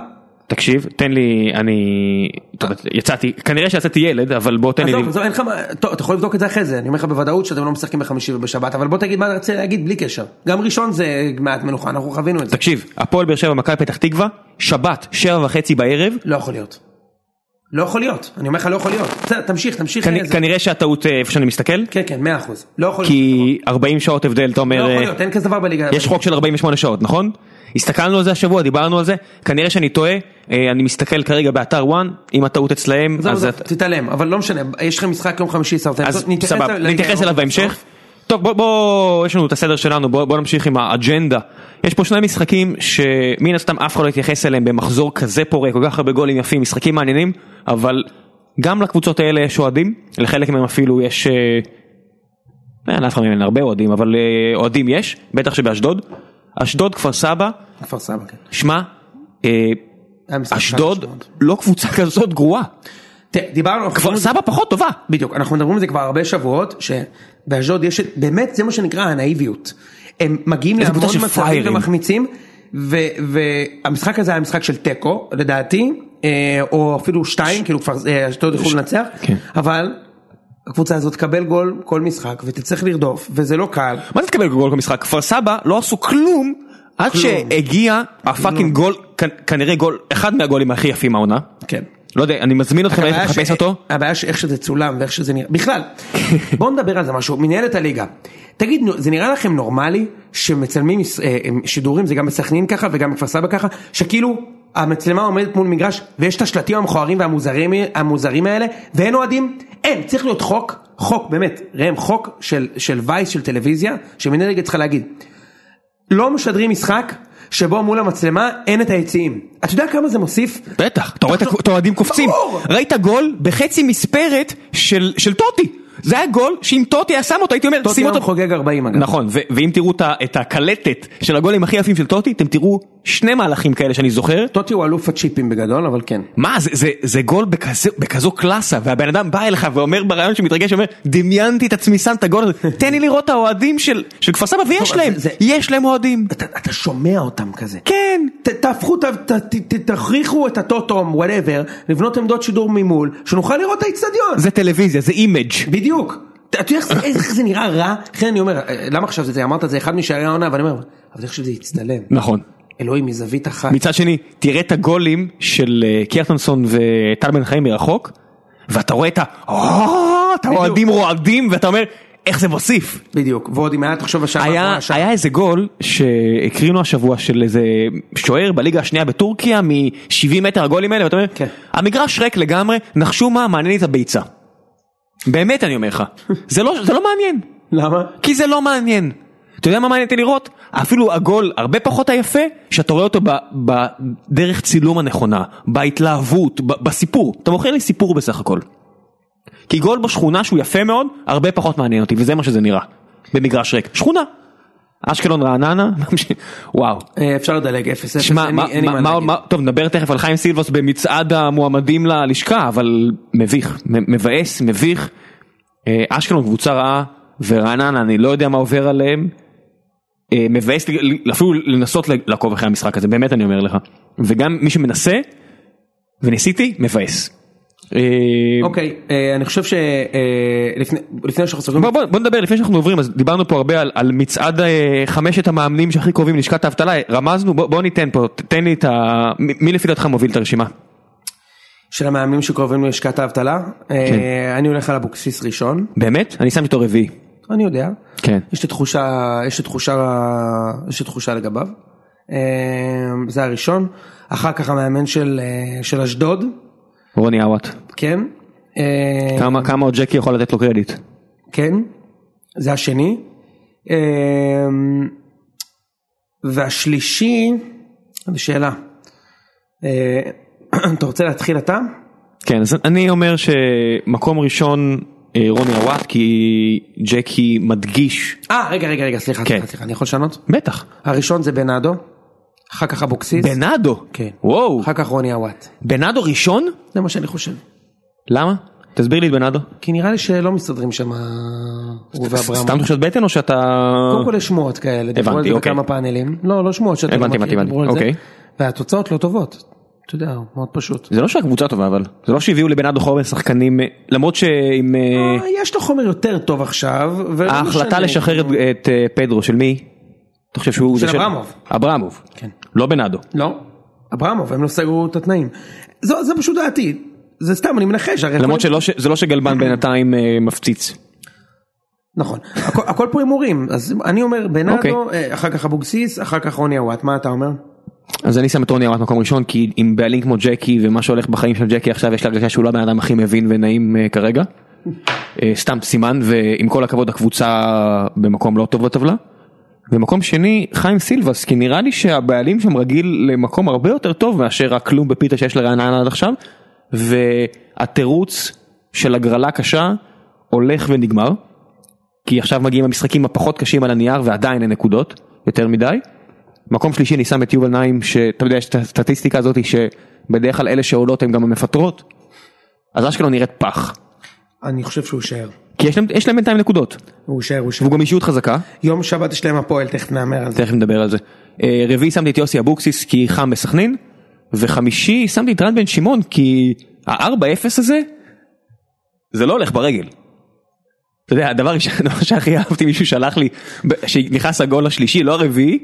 A: תקשיב, תן לי, אני... טוב, יצאתי, כנראה שיצאתי ילד, אבל בוא תן לי...
B: אה. עזוב, עזוב, אין לך מה, טוב, אתה יכול לבדוק את זה אחרי זה, אני אומר לך בוודאות שאתם לא משחקים בחמישי ובשבת, אבל בוא תגיד מה אתה רוצה להגיד בלי קשר. גם ראשון זה מעט מנוחה, אנחנו חווינו את זה.
A: תקשיב, הפועל באר שבע, מכבי פתח תקווה, שבת, שבע וחצי בערב,
B: לא יכול להיות. לא יכול להיות, אני אומר לך לא יכול להיות. בסדר, תמשיך, תמשיך.
A: כנ-
B: אה, זה-
A: כנראה שהטעות אה, איפה שאני מסתכל,
B: כן, כן, מאה אחוז. לא יכול להיות.
A: כי 40 שעות הבדל, אתה
B: לא
A: אומר,
B: יכול
A: אה,
B: להיות, אין כזה דבר בליגה.
A: יש חוק של 48 שעות, נכון? הסתכלנו על זה השבוע, דיברנו על זה, כנראה שאני טועה, אה, אני מסתכל כרגע באתר וואן, אם הטעות אצלהם,
B: זהו,
A: אז
B: זהו,
A: את-
B: תתעלם, אבל לא משנה, יש לכם משחק יום חמישי סרטן.
A: אז
B: טוב, נתייחס אוקיי,
A: סבבה,
B: לליגה
A: נתייחס אליו
B: האירופית
A: בהמשך.
B: בסוף.
A: טוב בוא, בוא יש לנו את הסדר שלנו בוא, בוא נמשיך עם האג'נדה. יש פה שני משחקים שמן הסתם אף אחד לא התייחס אליהם במחזור כזה פורה כל כך הרבה גולים יפים משחקים מעניינים אבל גם לקבוצות האלה יש אוהדים לחלק מהם אפילו יש. אה, לא אין לאף אחד מהם אין הרבה אוהדים אבל אה, אוהדים יש בטח שבאשדוד. אשדוד כפר סבא
B: כפר סבא, כן.
A: שמע אה,
B: היה משחק
A: אשדוד
B: חדש מאוד.
A: לא קבוצה כזאת גרועה
B: תראה, דיברנו, אנחנו
A: כפר
B: מדברים-
A: סבא פחות טובה.
B: בדיוק, אנחנו מדברים על זה כבר הרבה שבועות, שבאשדוד יש, את- באמת זה מה שנקרא הנאיביות. הם מגיעים
A: איזה
B: להמון
A: קבוצה של
B: מצבים
A: פראיירים.
B: ומחמיצים, ו- והמשחק הזה היה משחק של תיקו, לדעתי, אה, או אפילו שתיים, כאילו כבר אה, אשדוד יכולו לנצח,
A: כן.
B: אבל הקבוצה הזאת תקבל גול כל משחק, ותצטרך לרדוף, וזה לא קל.
A: מה זה תקבל גול במשחק? כפר סבא לא עשו כלום עד
B: כלום.
A: שהגיע הפאקינג גול, כ- כנראה גול, אחד מהגולים הכי יפים העונה.
B: כן.
A: לא יודע, אני מזמין אתכם ללכת
B: הבעיה
A: לחפש
B: ש-
A: אותו.
B: הבעיה שאיך שזה צולם ואיך שזה נראה, בכלל, בואו נדבר על זה משהו, מנהלת הליגה, תגיד, נו, זה נראה לכם נורמלי שמצלמים יש- אה, אה, שידורים, זה גם בסכנין ככה וגם בכפר סבא ככה, שכאילו המצלמה עומדת מול מגרש ויש את השלטים המכוערים והמוזרים המוזרים האלה ואין אוהדים? אין, צריך להיות חוק, חוק באמת, ראם, חוק של, של וייס של טלוויזיה, שמנהלת הליגה צריכה להגיד, לא משדרים משחק שבו מול המצלמה אין את היציעים. אתה יודע כמה זה מוסיף?
A: בטח, אתה רואה את ה- את האוהדים קופצים.
B: ברור.
A: ראית גול בחצי מספרת של של טוטי. זה היה גול שאם טוטי היה שם אותו הייתי אומר,
B: טוטי
A: שים
B: היום
A: אותו.
B: חוגג 40 אגב.
A: נכון, ו- ואם תראו את ה- את הקלטת של הגולים הכי יפים של טוטי, אתם תראו שני מהלכים כאלה שאני זוכר.
B: טוטי הוא אלוף הצ'יפים בגדול, אבל כן.
A: מה זה, זה, זה גול בכזה, בכזו קלאסה והבן אדם בא אליך ואומר ברעיון שמתרגש אומר דמיינתי את עצמי שם את הגול הזה תן לי לראות את האוהדים של, של כפר סבא ויש
B: טוב, אז
A: להם,
B: זה-
A: יש להם אוהדים.
B: אתה, אתה שומע אותם כזה.
A: כן.
B: ת, תהפכו, ת, ת, ת, תכריחו את הטוטום, וואטאבר, לבנות עמדות שידור ממול, שנוכל לראות את האיצטדיון.
A: זה טלוויזיה זה אימג'
B: בדיוק. אתה יודע איך זה- איך זה נראה רע? לכן אני אומר, אה, למה חשבת את זה? אמרת את זה אחד משערי העונה, ואני אומר, אבל איך שזה יצטלם.
A: נכון.
B: אלוהים מזווית אחת.
A: מצד שני תראה את הגולים של אה, קיארטנסון וטל בן חיים מרחוק ואתה רואה את ה... "אה", את האוהדים רועדים ואתה אומר איך זה מוסיף.
B: בדיוק. ועוד אם היה תחשוב השער
A: היה,
B: האחרון, השער-
A: היה איזה גול שהקרינו השבוע של איזה שוער בליגה השנייה בטורקיה מ-70 מטר הגולים האלה ואתה אומר
B: כן.
A: המגרש ריק לגמרי נחשו מה מעניין לי את הביצה. באמת אני אומר לך זה, לא, זה לא מעניין
B: למה?
A: כי זה לא מעניין. אתה יודע מה מעניין אותי לראות? אפילו הגול הרבה פחות היפה שאתה רואה אותו ב- בדרך צילום הנכונה בהתלהבות ב- בסיפור אתה מוכר לי סיפור בסך הכל. כי גול בשכונה שהוא יפה מאוד הרבה פחות מעניין אותי וזה מה שזה נראה במגרש ריק שכונה. אשקלון רעננה וואו.
B: אה, אפשר לדלג 0-0,
A: שמע,
B: אין
A: מה-
B: לי- אין לי
A: מה-
B: מה
A: מה-
B: להגיד.
A: מה- טוב נדבר תכף על חיים סילבוס במצעד המועמדים ללשכה אבל מביך מ- מבאס מביך אה, אשקלון קבוצה רעה ורעננה אני לא יודע מה עובר עליהם. אה, מבאס לי- לי- אפילו לנסות ל- לעקוב אחרי המשחק הזה באמת אני אומר לך וגם מי שמנסה וניסיתי מבאס. אה,
B: אוקיי, אה, אני חושב שלפני שאנחנו סוגרים...
A: בוא, בוא, בוא נדבר לפני שאנחנו עוברים אז דיברנו פה הרבה על, על מצעד אה, חמשת המאמנים שהכי קרובים לשכת האבטלה רמזנו בוא, בוא ניתן פה ת- תן לי את ה... מי, מי לפי דעתך מוביל את הרשימה?
B: של המאמנים שקרובים ללשכת האבטלה.
A: כן.
B: אה, אני הולך על אבוקסיס ראשון,
A: באמת? אני שמתי אותו רביעי.
B: אני יודע.
A: כן.
B: יש לי תחושה, יש לי תחושה, יש לי תחושה לגביו. אה, זה הראשון. אחר כך המאמן של אה, של אשדוד,
A: רוני עוואט.
B: כן. אה,
A: כמה כמה עוד ג'קי יכול לתת לו קרדיט?
B: כן. זה השני. אה, והשלישי, זו שאלה. אה, אתה רוצה להתחיל אתה?
A: כן אז אני אומר שמקום ראשון אה, רוני עוואט כי ג'קי מדגיש.
B: אה, רגע, רגע, רגע, סליחה,
A: כן.
B: סליחה, סליחה, אני יכול לשנות?
A: בטח.
B: הראשון זה בנאדו, אחר כך אבוקסיס,
A: בנאדו.
B: כן.
A: וואו.
B: אחר כך רוני עוואט.
A: בנאדו ראשון?
B: זה מה שאני חושב.
A: למה? תסביר לי את בנאדו.
B: כי נראה לי שלא מסתדרים שם אה, הוא ואברהם.
A: סתם תחושת בטן או שאתה...
B: קודם כל יש שמועות כאלה, דיברו על
A: הבנתי,
B: זה
A: אוקיי.
B: בכמה פאנלים. לא, לא שמועות שאתה לא
A: הבנתי,
B: מכיר,
A: הבנתי,
B: דיברו על זה.
A: אוקיי.
B: והתוצאות לא טובות. אתה יודע, מאוד פשוט.
A: זה לא שהקבוצה טובה אבל. זה לא שהביאו לבנאדו חומר שחקנים אה, למרות שעם... אה,
B: אה, יש לו חומר יותר טוב עכשיו. ולא
A: ההחלטה
B: משנה.
A: לשחרר את- את אה, פדרו של מי? אתה חושב שהוא...
B: של
A: זה
B: אברמוב.
A: אברמוב.
B: כן.
A: לא בנאדו.
B: לא, אברמוב, הם לא סגרו את התנאים. זו- זה פשוט דעתי. זה סתם, אני מנחש. הרי
A: למרות
B: הכל-
A: שלא ש- זה לא שגלבן בינתיים אה, מפציץ.
B: נכון. הכל- הכל פה הימורים. אז אני אומר, בנאדו,
A: אוקיי.
B: אה, אחר כך אבוקסיס, אחר כך רוני עוואט. מה אתה אומר?
A: אז אני שם את רוני ארד מקום ראשון כי עם בעלים כמו ג'קי ומה שהולך בחיים של ג'קי עכשיו יש לי הרגשה שהוא לא הבן אדם הכי מבין ונעים אה, כרגע. אה, סתם סימן ועם כל הכבוד הקבוצה במקום לא טוב בטבלה. במקום שני חיים סילבס כי נראה לי שהבעלים שם רגיל למקום הרבה יותר טוב מאשר הכלום בפיתה שיש לרעננה עד עכשיו והתירוץ של הגרלה קשה הולך ונגמר. כי עכשיו מגיעים המשחקים הפחות קשים על הנייר ועדיין אין נקודות יותר מדי. מקום שלישי אני שם את יובל נעים שאתה יודע יש את הסטטיסטיקה הזאת שבדרך כלל אלה שעולות הן גם המפטרות. אז אשקלון נראית פח.
B: אני חושב שהוא יישאר.
A: כי יש להם, יש להם בינתיים נקודות.
B: הוא יישאר, הוא יישאר.
A: והוא גם אישיות חזקה.
B: יום שבת יש להם הפועל, תכף נאמר על זה.
A: תכף נדבר על זה. אה, רביעי שמתי את יוסי אבוקסיס כי חם בסכנין. וחמישי שמתי את רן בן שמעון כי ה-4-0 הזה זה לא הולך ברגל. אתה יודע הדבר ש- הדבר שהכי אהבתי מישהו שלח לי ב- שנכנס הגול השלישי לא הרביעי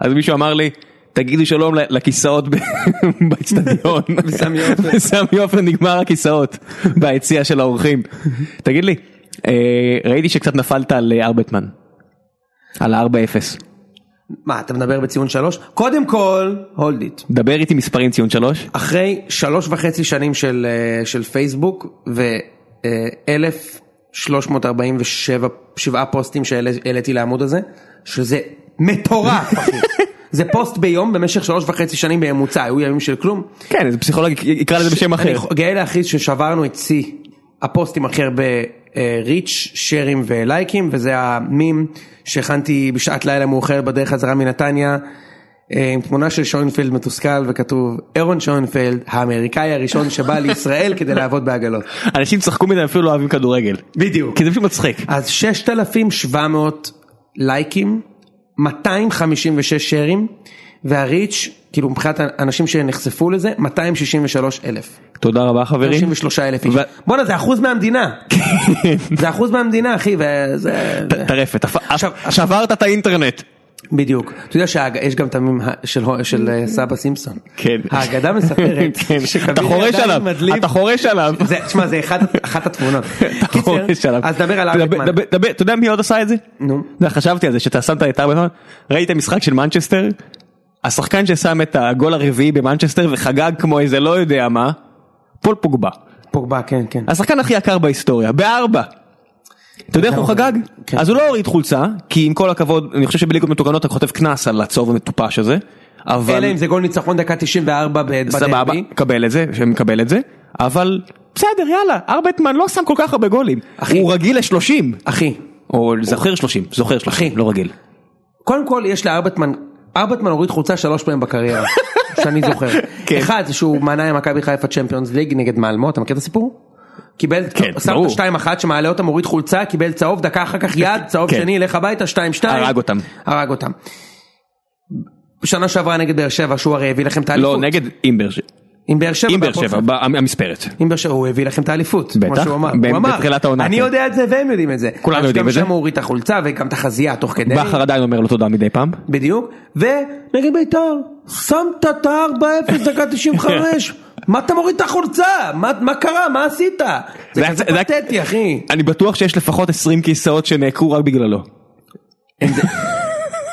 A: אז מישהו אמר לי תגידו שלום ל- לכיסאות ב- באצטדיון.
B: בסמי עופר.
A: בסמי עופר נגמר הכיסאות ביציע של האורחים. תגיד לי אה, ראיתי שקצת נפלת על אה, ארבטמן. על ה-4-0.
B: מה, אתה מדבר בציון שלוש? קודם כל, הולד איט.
A: דבר איתי מספרים ציון שלוש.
B: אחרי שלוש וחצי שנים של, אה, של פייסבוק ו-1,347 פוסטים שהעליתי לעמוד הזה, שזה מטורף, אחי. זה פוסט ביום במשך שלוש וחצי שנים בממוצע, היו ימים של כלום.
A: כן, זה פסיכולוג י- יקרא לזה בשם אחר.
B: אני ח- גאה להכריז ששברנו את שיא הפוסטים הכי הרבה אה, ריץ', שרים ולייקים, וזה המים שהכנתי בשעת לילה מאוחרת בדרך חזרה מנתניה. אה, עם תמונה של שוינפלד מתוסכל וכתוב אירון שוינפלד האמריקאי הראשון שבא לישראל כדי לעבוד בעגלות.
A: אנשים צחקו מזה אפילו לא אוהבים כדורגל.
B: בדיוק.
A: כי זה פשוט מצחיק.
B: אז 6,700 לייקים, 256 שרים, והריץ', כאילו מבחינת האנשים שנחשפו לזה, 263 אלף.
A: תודה רבה חברים.
B: 33 אלף איש.
A: ו- כן.
B: בואנה זה אחוז מהמדינה. זה אחוז מהמדינה אחי, וזה...
A: ט- טרפת, הפ-
B: עכשיו-
A: שברת את האינטרנט.
B: בדיוק. אתה יודע שיש גם את המים ה- של הו- של אה, סבא סימפסון.
A: כן.
B: האגדה מספרת
A: כן.
B: שכביר
A: אתה חורש
B: ידיים
A: עליו,
B: מדליף-
A: אתה חורש עליו.
B: זה- תשמע זה אחד- אחת התמונות.
A: אתה
B: קיצר,
A: חורש עליו.
B: אז דבר על
A: דבר-
B: אריקמן.
A: דבר- דבר- אתה יודע מי עוד עשה את זה?
B: נו.
A: אתה יודע, חשבתי על זה שאתה שמת את ארבע ראית משחק של מנצ'סטר? השחקן ששם את הגול הרביעי במנצ'סטר וחגג כמו איזה לא יודע מה, פול פוגבה.
B: פוגבה כן כן.
A: השחקן הכי יקר בהיסטוריה, בארבע. אתה יודע איך הוא
B: לגמרי,
A: חגג?
B: כן.
A: אז הוא לא הוריד חולצה, כי עם כל הכבוד, אני חושב שבליגות מתוקנות אתה חוטף קנס על הצהוב המטופש הזה, אבל
B: אלא אם זה גול ניצחון דקה 94 ב- בדרבי.
A: סבבה, קבל את זה, שמקבל את זה, אבל בסדר יאללה, ארבטמן לא שם כל כך הרבה גולים,
B: אחי.
A: הוא רגיל לשלושים,
B: אחי,
A: או זוכר שלושים, זוכר שלושים,
B: אחי.
A: לא רגיל.
B: קודם כל יש לארבטמן, ארבטמן הוריד חולצה שלוש פעמים בקריירה, שאני זוכר.
A: כן.
B: אחד זה שהוא מנע עם מכבי חיפה צ'מפיונס ליג נגד מלמו, אתה מכיר את הסיפור? קיבל,
A: כן,
B: שם
A: ברור.
B: את השתיים אחת שמעלה אותם, הוריד חולצה, קיבל צהוב, דקה אחר כך יד, צהוב
A: כן.
B: שני, לך הביתה, שתיים שתיים.
A: הרג אותם.
B: הרג אותם. שנה שעברה נגד באר שבע, שהוא הרי הביא לכם את האליפות.
A: לא, נגד עם באר שבע,
B: עם באר שבע.
A: עם באר
B: בהפועל
A: שבע, ב- המספרת.
B: אם באר שבע, הוא הביא לכם את האליפות, כמו
A: בטח,
B: שהוא אמר,
A: ב-
B: הוא אמר,
A: בתחילת העונה,
B: אני
A: כן.
B: יודע את זה והם יודעים את זה,
A: כולם
B: אז
A: יודעים
B: גם
A: את זה.
B: שם הוא הוריד את החולצה וגם את החזייה תוך כדי,
A: בכר עדיין אומר לו תודה מדי פעם.
B: בדיוק, ונגד בית"ר, שמת את ה-4-0 דקה 95, מה אתה מוריד את החולצה? מה, מה קרה? מה עשית? זה
A: זה-
B: כזה
A: זה-
B: פתטי אחי,
A: אני בטוח שיש לפחות 20 כיסאות שנעקרו רק בגללו.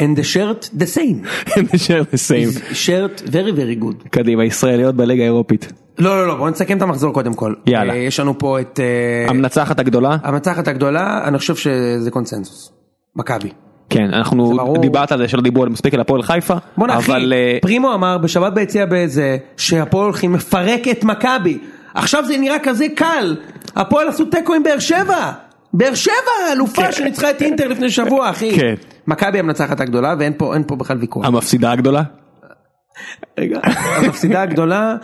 B: and the shirt the same,
A: נשאר לסיים.
B: shirt very very good.
A: קדימה, ישראליות בליגה האירופית.
B: לא לא לא בוא נסכם את המחזור קודם כל,
A: יאללה.
B: אה, יש לנו פה את אה,
A: המנצחת הגדולה?
B: המצחת הגדולה, אני חושב שזה קונסנזוס, מכבי.
A: כן, אנחנו
B: זה ברור.
A: דיברת על זה שלא דיברו על מספיק על הפועל חיפה,
B: בואנה אחי,
A: אבל אה,
B: פרימו אמר בשבת ביציע באיזה שהפועל הולכים לפרק את מכבי. עכשיו זה נראה כזה קל. הפועל עשו תיקו עם באר שבע. באר שבע האלופה
A: כן.
B: שניצחה את אינטר לפני שבוע אחי.
A: כן. אה,
B: מכבי המנצחת הגדולה ואין פה אין פה בכלל ויכוח.
A: המפסידה הגדולה?
B: רגע, המפסידה הגדולה.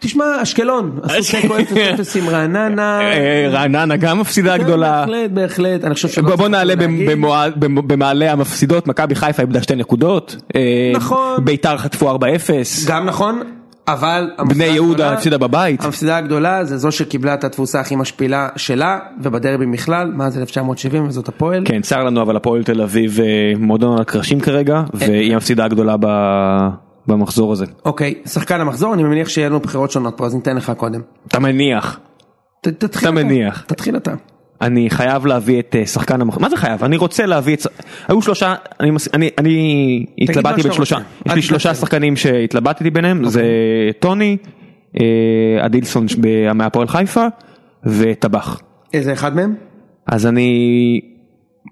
B: תשמע אשקלון עשו תיקו 0-0 עם רעננה.
A: אה, רעננה גם
B: אה,
A: מפסידה גדולה.
B: בהחלט בהחלט אני חושב שלא
A: בוא, בוא
B: צריך
A: נעלה
B: לא להגיד.
A: במוע- במוע- במעלה המפסידות, מכבי חיפה איבדה שתי נקודות, אה,
B: נכון.
A: ביתר חטפו 4-0,
B: גם נכון, אבל... המפסידה
A: יהודה
B: הגדולה-
A: הפסידה בבית.
B: המפסידה הגדולה זה זו שקיבלה את התבוסה הכי משפילה שלה, ובדרבי בכלל, מאז 1970, וזאת הפועל.
A: כן צר לנו אבל הפועל תל אביב אה, מועדון על הקרשים
B: אה.
A: כרגע, והיא המפסידה הגדולה ב- במחזור הזה.
B: אוקיי, שחקן המחזור, אני מניח שיהיה לנו בחירות שונות פה, אז ניתן לך קודם.
A: אתה מניח,
B: ת- תתחיל
A: אתה מניח.
B: תתחיל אתה.
A: אני חייב להביא את אה, שחקן המחזור, מה זה חייב? אני רוצה להביא את... ש- היו שלושה, אני מס- אני- אני
B: מה
A: התלבטתי
B: שאתה
A: בין שלושה,
B: רוצה.
A: יש
B: אל
A: לי שלושה
B: תתנצל. אוקיי.
A: שחקנים שהתלבטתי ביניהם, זה טוני, אה, אדילסון ש- ב- מהפועל חיפה וטבח.
B: איזה אחד מהם?
A: אז אני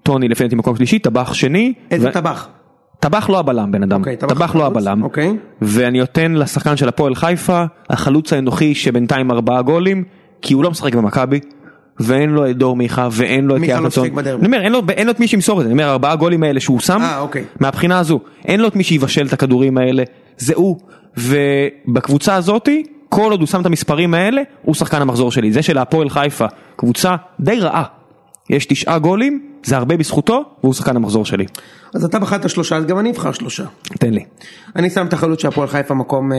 A: טוני לפי דעתי מקום שלישי טבח שני
B: איזה
A: ו-
B: טבח.
A: טבח לא הבלם בן אדם
B: אוקיי, טבח
A: טבח לא
B: חלוץ,
A: הבלם
B: אוקיי.
A: ואני נותן לשחקן של הפועל חיפה החלוץ האנוכי שבינתיים ארבעה גולים כי הוא לא משחק במכבי. ואין לו את דור מיכה ואין לו את
B: מיכה לא
A: יעקובסון.
B: שיחק בדרבי.
A: אני אומר, אין לו- אין לו את מי שימסור את זה, אני אומר ארבעה גולים האלה שהוא שם,
B: אה, אוקיי.
A: מהבחינה הזו אין לו את מי שיבשל את הכדורים האלה, זה הוא, ובקבוצה הזאתי כל עוד הוא שם את המספרים האלה הוא שחקן המחזור שלי, זה של הפועל חיפה, קבוצה די רעה, יש תשעה גולים, זה הרבה בזכותו והוא שחקן המחזור שלי,
B: אז אתה בחרת שלושה, אז גם אני אבחר שלושה.
A: תן לי,
B: אני שם את החלוץ של הפועל חיפה מקום אה,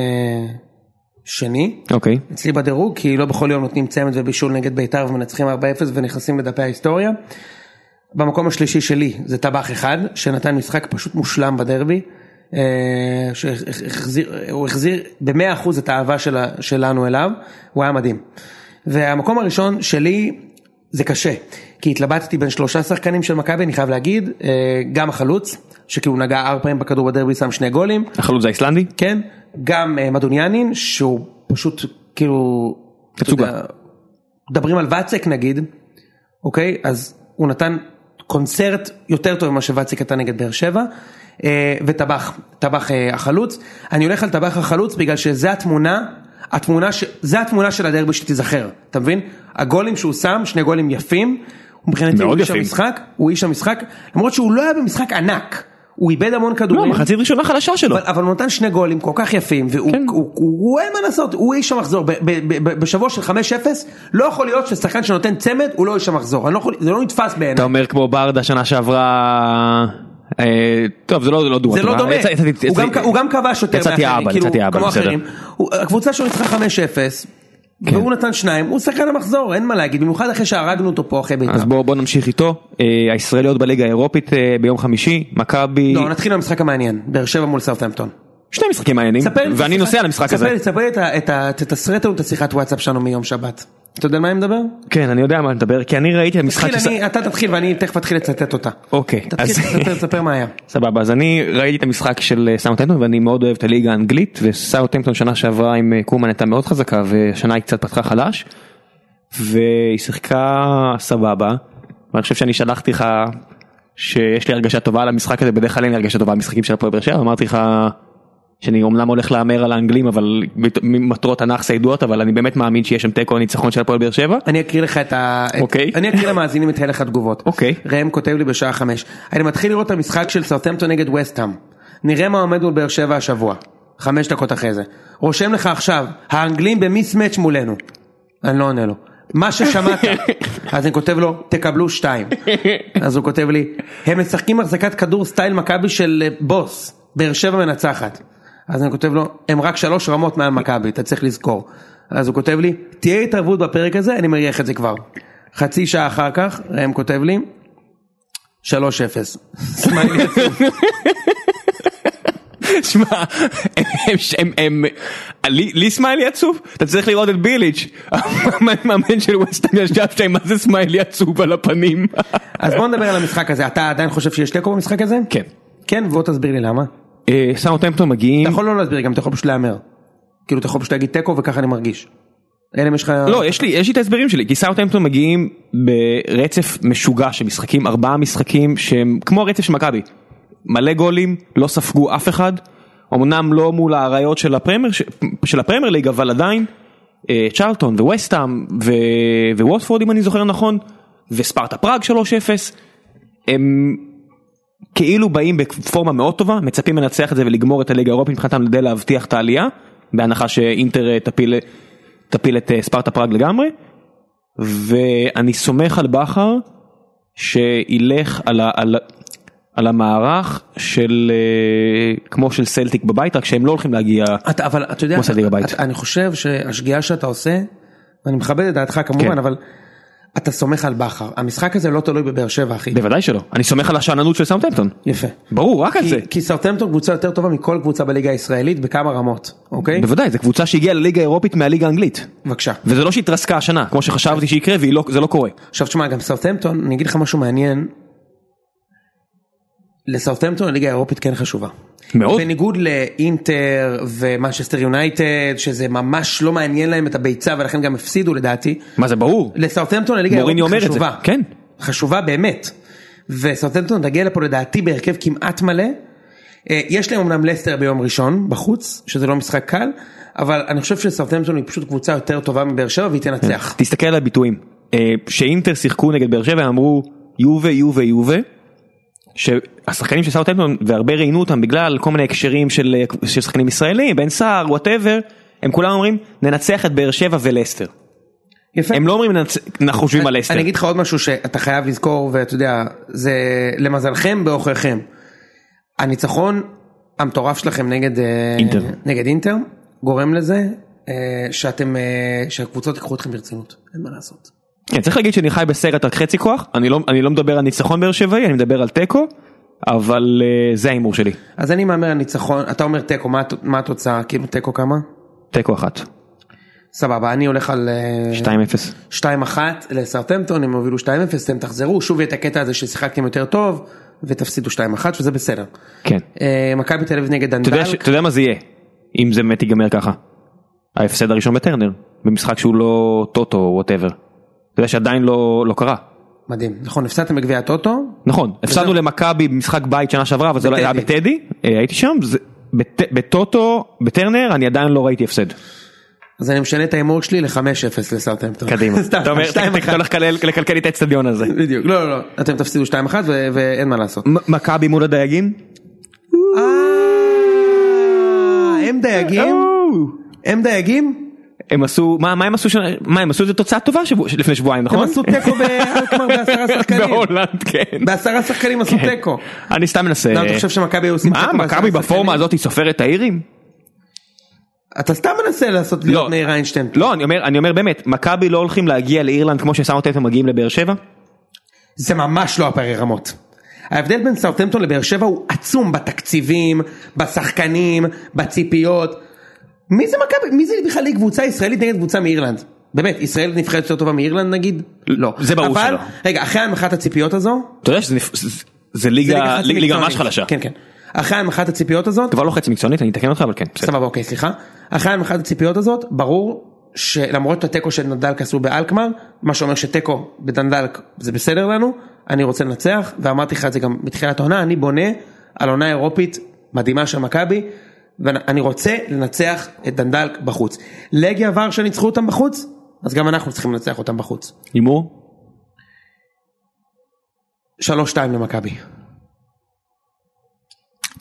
B: שני.
A: אוקיי,
B: אצלי בדירוג, כי לא בכל יום נותנים צמד ובישול נגד בית"ר ומנצחים 4-0 ונכנסים לדפי ההיסטוריה. במקום השלישי שלי זה טבח אחד, שנתן משחק פשוט מושלם בדרבי. אה, שהחזיר, הוא החזיר במאה אחוז את האהבה שלה, שלנו אליו, הוא היה מדהים. והמקום הראשון שלי זה קשה, כי התלבטתי בין שלושה שחקנים של מכבי, אני חייב להגיד, אה, גם החלוץ, שכאילו נגע ארבע פעמים בכדור בדרבי, שם שני גולים,
A: החלוץ האיסלנדי?
B: כן, גם אה, מדוניאנין שהוא פשוט כאילו, אתה
A: תצוגה.
B: יודע, מדברים על ואצק נגיד, אוקיי, אז הוא נתן קונצרט יותר טוב ממה שוואצק נתן נגד באר שבע, אה, וטבח, טבח אה, החלוץ, אני הולך על טבח החלוץ בגלל שזה התמונה, התמונה, ש... זה התמונה של הדרבי שתיזכר, אתה מבין? הגולים שהוא שם, שני גולים יפים, מבחינתי הוא
A: מאוד
B: איש
A: יפים.
B: המשחק, הוא איש המשחק, למרות שהוא לא היה במשחק ענק. הוא איבד המון
A: לא,
B: כדורים.
A: מחצית ראשונה חלשה שלו.
B: אבל, אבל הוא נתן שני גולים כל כך יפים, והוא,
A: לא. כן.
B: הוא, הוא, הוא, אין מה לעשות, הוא איש המחזור, ב, ב, ב, ב, בשבוע של 5-0, לא יכול להיות ששחקן שנותן צמד הוא לא איש המחזור, אני לא יכול, זה לא נתפס
A: אתה
B: בעיניי.
A: אומר כמו ברדה שנה שעברה... אה, טוב זה לא זה לא דומה.
B: זה לא דומה,
A: יצא- יצאתי-
B: הוא גם-
A: יצאתי-
B: הוא גם כבש יותר
A: יצאתי
B: מאחרים,
A: אבא,
B: כאילו,
A: יצאתי אבא,
B: כמו
A: בסדר. כן.
B: אחרים. הוא- הקבוצה שלו ניצחה 5-0, והוא נתן שניים, הוא שחקן המחזור, אין מה להגיד, במיוחד אחרי שהרגנו אותו פה אחרי בית"ר.
A: אז בואו בוא נמשיך איתו. אה, הישראליות בליגה האירופית אה, ביום חמישי, מכבי,
B: לא, נתחיל מהמשחק המעניין, באר שבע מול סרטמפטון.
A: שני משחקים מעניינים,
B: ספר לי את
A: ואני
B: השיחת-
A: נוסע למשחק הזה.
B: ספר לי, ספר לי את ה... את ה- תתסרט לנו את השיחת וואטסאפ שלנו מיום שבת. אתה יודע על מה אני מדבר?
A: כן אני יודע מה אני מדבר כי אני ראיתי את המשחק,
B: תתחיל,
A: שס-
B: אני- אתה תתחיל ואני תכף אתחיל לצטט אותה.
A: אוקיי,
B: תתחיל,
A: אז
B: תספר- תספר מה היה.
A: סבבה אז אני ראיתי את המשחק של אה, סאוטהמפטון ואני מאוד אוהב את הליגה האנגלית וסאוטהמפטון שנה שעברה עם אה, קומן הייתה מאוד חזקה והשנה היא קצת פתחה חלש. והיא שיחקה סבבה ואני חושב שאני שלחתי לך שיש לי הרגשה טובה על המשחק הזה בדרך כלל אין לי הרגשה טובה על משחקים של הפועל באר שבע אמרתי לך שאני אומנם הולך להמר על האנגלים אבל מת- מטרות הנאחס הידועות אבל אני באמת מאמין שיש שם תיקו או ניצחון של הפועל באר שבע.
B: אני אקריא לך את ה... את-
A: אוקיי.
B: אני אקריא למאזינים את הלך התגובות.
A: אוקיי.
B: ראם כותב לי בשעה חמש. אני מתחיל לראות את המשחק של סרטמפטון נגד וסטהאם. נראה מה עומד מול באר שבע השבוע. חמש דקות אחרי זה. רושם לך עכשיו, האנגלים במיסמץ' מולנו. אני לא עונה לו. מה ששמעת. אז אני כותב לו, תקבלו שתיים. אז הוא כותב לי, הם משחקים החזקת כדור סטייל מכבי של אה, בוס. באר שבע מנצחת. אז אני כותב לו, הם רק שלוש רמות מעל מכבי, אתה צריך לזכור. אז הוא כותב לי, תהיה התערבות בפרק הזה, אני מריח את זה כבר. חצי שעה אחר כך, ראם כותב לי, 3-0. סמיילי עצוב.
A: שמע, הם- הם- הם- לי לי סמיילי עצוב? אתה צריך לראות את ביליץ', המאמן של ווסטהאם ישב שם, מה זה סמיילי עצוב על הפנים?
B: אז בוא נדבר על המשחק הזה, אתה עדיין חושב שיש תיקו במשחק הזה?
A: כן.
B: כן, ובוא תסביר לי למה.
A: אה, סאוטהמפטון מגיעים,
B: אתה יכול לא להסביר גם, אתה יכול פשוט להמר. כאילו אתה יכול פשוט להגיד תיקו וככה אני מרגיש. אלא אם יש לך...
A: לא יש לי יש לי את ההסברים שלי כי סאוטהמפטון מגיעים ברצף משוגע של משחקים ארבעה משחקים שהם כמו הרצף של מכבי מלא גולים לא ספגו אף אחד אמנם לא מול האריות של הפרמייר ש- של הפרמייר ליג אבל עדיין אה, צ'רלטון וווסטהאם ו- וווטפורד אם אני זוכר נכון וספרטה פראג 3-0 הם כאילו באים בפורמה מאוד טובה, מצפים לנצח את זה ולגמור את הליגה האירופית מבחינתם כדי להבטיח את העלייה, בהנחה שאינטר אה, תפיל, תפיל את אה, ספרטה פראג לגמרי, ואני סומך על בכר שילך על, ה, על, ה- על המערך של אה, כמו של סלטיק בבית, רק שהם לא הולכים להגיע,
B: אתה, אבל אתה יודע,
A: כמו סדיר הבית.
B: אתה- אני חושב שהשגיאה שאתה עושה, ואני מכבד את דעתך כמובן,
A: כן.
B: אבל אתה סומך על בכר. המשחק הזה לא תלוי בבאר שבע, אחי.
A: בוודאי שלא, אני סומך על השאננות של סאונטמפטון,
B: יפה.
A: ברור רק על
B: כי-
A: זה,
B: כי סרטמפטון קבוצה יותר טובה מכל קבוצה בליגה הישראלית בכמה רמות, אוקיי?
A: בוודאי, זו קבוצה שהגיעה לליגה האירופית מהליגה האנגלית.
B: בבקשה.
A: וזה לא שהתרסקה השנה, כמו שחשבתי שיקרה, וזה לא, זה לא קורה.
B: עכשיו תשמע, גם סרטמפטון, אני אגיד לך משהו מעניין. לסרטמפטון הליגה האירופית כן חשובה.
A: מאוד.
B: בניגוד לאינטר ומנצ'סטר יונייטד, שזה ממש לא מעניין להם את הביצה ולכן גם הפסידו לדעתי.
A: מה זה ברור?
B: לסרטמפטון הליגה
A: מוריני
B: האירופית
A: אומר את זה,
B: חשובה.
A: כן.
B: חשובה באמת. וסרטמפטון תגיע לפה לדעתי בהרכב כמעט מלא. אה, יש להם אמנם לסטר ביום ראשון בחוץ, שזה לא משחק קל, אבל אני חושב שסרטמפטון היא פשוט קבוצה יותר טובה מבאר שבע והיא תנצח.
A: תסתכל על הביטויים. אה, שאינטר שיחקו נגד באר שבע אמרו יובה יובה יובה. שהשחקנים של סאוטהמפטון והרבה ראיינו אותם בגלל כל מיני הקשרים של, אה, של שחקנים ישראלים בן סער וואטאבר הם כולם אומרים ננצח את באר שבע ולסטר
B: יפה.
A: הם לא אומרים "ננצ- אנחנו חושבים על לסטר
B: אני אגיד לך עוד משהו שאתה חייב לזכור ואתה יודע זה למזלכם בעוכריכם. הניצחון המטורף שלכם נגד אה,
A: אינטר.
B: נגד אינטר גורם לזה אה, שאתם אה, שהקבוצות ייקחו אתכם ברצינות אין מה לעשות.
A: כן, צריך להגיד שאני חי בסרט על חצי כוח אני לא, אני לא מדבר על ניצחון באר שבעי אני מדבר על תיקו אבל אה, זה ההימור שלי
B: אז אני מהמר על ניצחון אתה אומר תיקו מה, הת- מה התוצאה כאילו תיקו כמה?
A: תיקו אחת
B: סבבה אני הולך על אה,
A: 2-0
B: 2-1 לסרטמפטון הם הובילו 2-0 אתם תחזרו שוב יהיה את הקטע הזה ששיחקתם יותר טוב ותפסידו 2-1 וזה בסדר.
A: כן.
B: אה, מכבי תל אביב נגד
A: אתה
B: דנדלק.
A: יודע, ש... אתה יודע מה זה יהיה אם זה באמת ייגמר ככה. ההפסד הראשון בטרנר במשחק שהוא לא טוטו או וואטאבר. אתה יודע שעדיין לא לא קרה.
B: מדהים נכון הפסדתם בגביע הטוטו
A: נכון הפסדנו למכבי במשחק בית שנה שעברה אבל זה לא היה
B: בטדי.
A: בטדי אה, הייתי שם זה בט- בטוטו בטרנר אני עדיין לא ראיתי הפסד.
B: אז אני משנה את ההימור שלי ל-5-0 לסרטמפטון.
A: קדימה.
B: סתם,
A: אתה אומר
B: 2-1.
A: אתה הולך לקלל- לקלקל לי את האצטדיון הזה.
B: בדיוק לא לא לא אתם תפסידו 2-1 ו- ואין מה לעשות.
A: מ- מכבי מול הדייגים
B: אה, הם דייגים? הם דייגים?
A: הם עשו מה מה הם עשו שנה- מה הם עשו איזה תוצאה טובה שבוע- לפני שבועיים
B: הם
A: נכון?
B: עשו תיקו בהולקמר בעשרה שחקנים.
A: בהולנד כן. לא,
B: בעשרה שחקנים עשו תיקו.
A: אני סתם מנסה.
B: למה אתה חושב שמכבי היו עושים
A: כן. אה. מה
B: תיקו בעשרה
A: מכבי בפורמה
B: שחקנים?
A: הזאת היא סופרת האירים?
B: אתה סתם מנסה לעשות להיות מאיר איינשטיין.
A: לא אני אומר אני אומר באמת מכבי לא הולכים להגיע לאירלנד כמו שסאוטהמפטון מגיעים לבאר שבע?
B: זה ממש לא הפערי רמות. ההבדל בין סאוטמפטון לבאר שבע הוא עצום בתקציבים, בשחקנים, בציפיות. מי זה מכבי? מי זה בכלל היא קבוצה ישראלית נגד קבוצה מאירלנד? באמת, ישראל נבחרת יותר טובה מאירלנד נגיד? לא.
A: זה ברור
B: אבל,
A: שלא.
B: רגע, אחרי הנמכת הציפיות הזו,
A: אתה יודע שזה נפ- זה- זה
B: זה
A: ליגה
B: חצי
A: ליגה
B: מקצוענית.
A: ממש חלשה.
B: כן, כן. אחרי הנמכת הציפיות הזאת,
A: כבר לא חצי מקצוענית אני אתקן אותך אבל כן. בסדר.
B: סבבה, אוקיי, סליחה. אחרי הנמכת הציפיות הזאת, ברור שלמרות התיקו של נדלק עשו באלקמר, מה שאומר שתיקו בדנדלק זה בסדר לנו, אני רוצה לנצח, ואמרתי לך את זה גם מתחילת העונה, אני בונה על עונה אירופית מדהימה של מכבי, ואני רוצה לנצח את דנדלק בחוץ. לגיה ורשה ניצחו אותם בחוץ, אז גם אנחנו צריכים לנצח אותם בחוץ.
A: הימור?
B: 3-2 למכבי.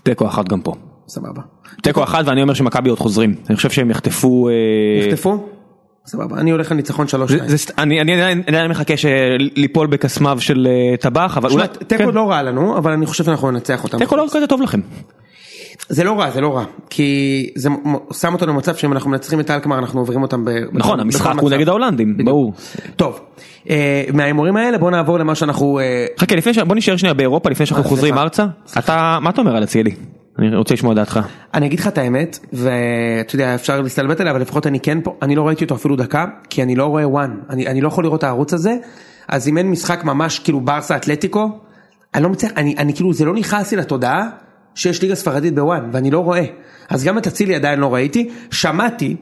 A: תיקו אחת גם פה.
B: סבבה.
A: תיקו אחת ואני אומר שמכבי עוד חוזרים. אני חושב שהם יחטפו. אה,
B: נחטפו? סבבה, אני הולך לניצחון 3-2.
A: זה- זה סת- אני אני עדיין אני עדיין מחכה של- ליפול בקסמיו של אה, טבח אבל
B: תשמע,
A: אולי.
B: תיקו
A: כן.
B: לא רע לנו, אבל אני חושב שאנחנו ננצח אותם.
A: תיקו לא כזה טוב לכם.
B: זה לא רע, זה לא רע, כי זה מ- שם אותנו במצב שאם אנחנו מנצחים את אלקמר אנחנו עוברים אותם ב...
A: נכון
B: בכל
A: המשחק
B: מצב.
A: הוא נגד ההולנדים
B: בדיוק.
A: ברור.
B: טוב, אה, מההימורים האלה בוא נעבור למה שאנחנו... אה,
A: חכה לפני ש... בוא נשאר שנייה באירופה לפני שאנחנו
B: אה,
A: חוזרים
B: סליחה.
A: ארצה. אתה מה אתה אומר על אצילי? אני רוצה לשמוע את דעתך.
B: אני אגיד לך את האמת, ואתה יודע אפשר להסתלבט עליה, אבל לפחות אני כן פה, אני לא ראיתי אותו אפילו דקה, כי אני לא רואה וואן, אני, אני לא יכול לראות את הערוץ הזה, אז אם אין משחק ממש כאילו ברסה אתלטיקו, אני לא מצליח, אני, אני כאילו זה לא נכנס לי לתודעה שיש ליגה ספרדית בוואן, ואני לא רואה, אז גם את אצילי עדיין לא ראיתי, שמעתי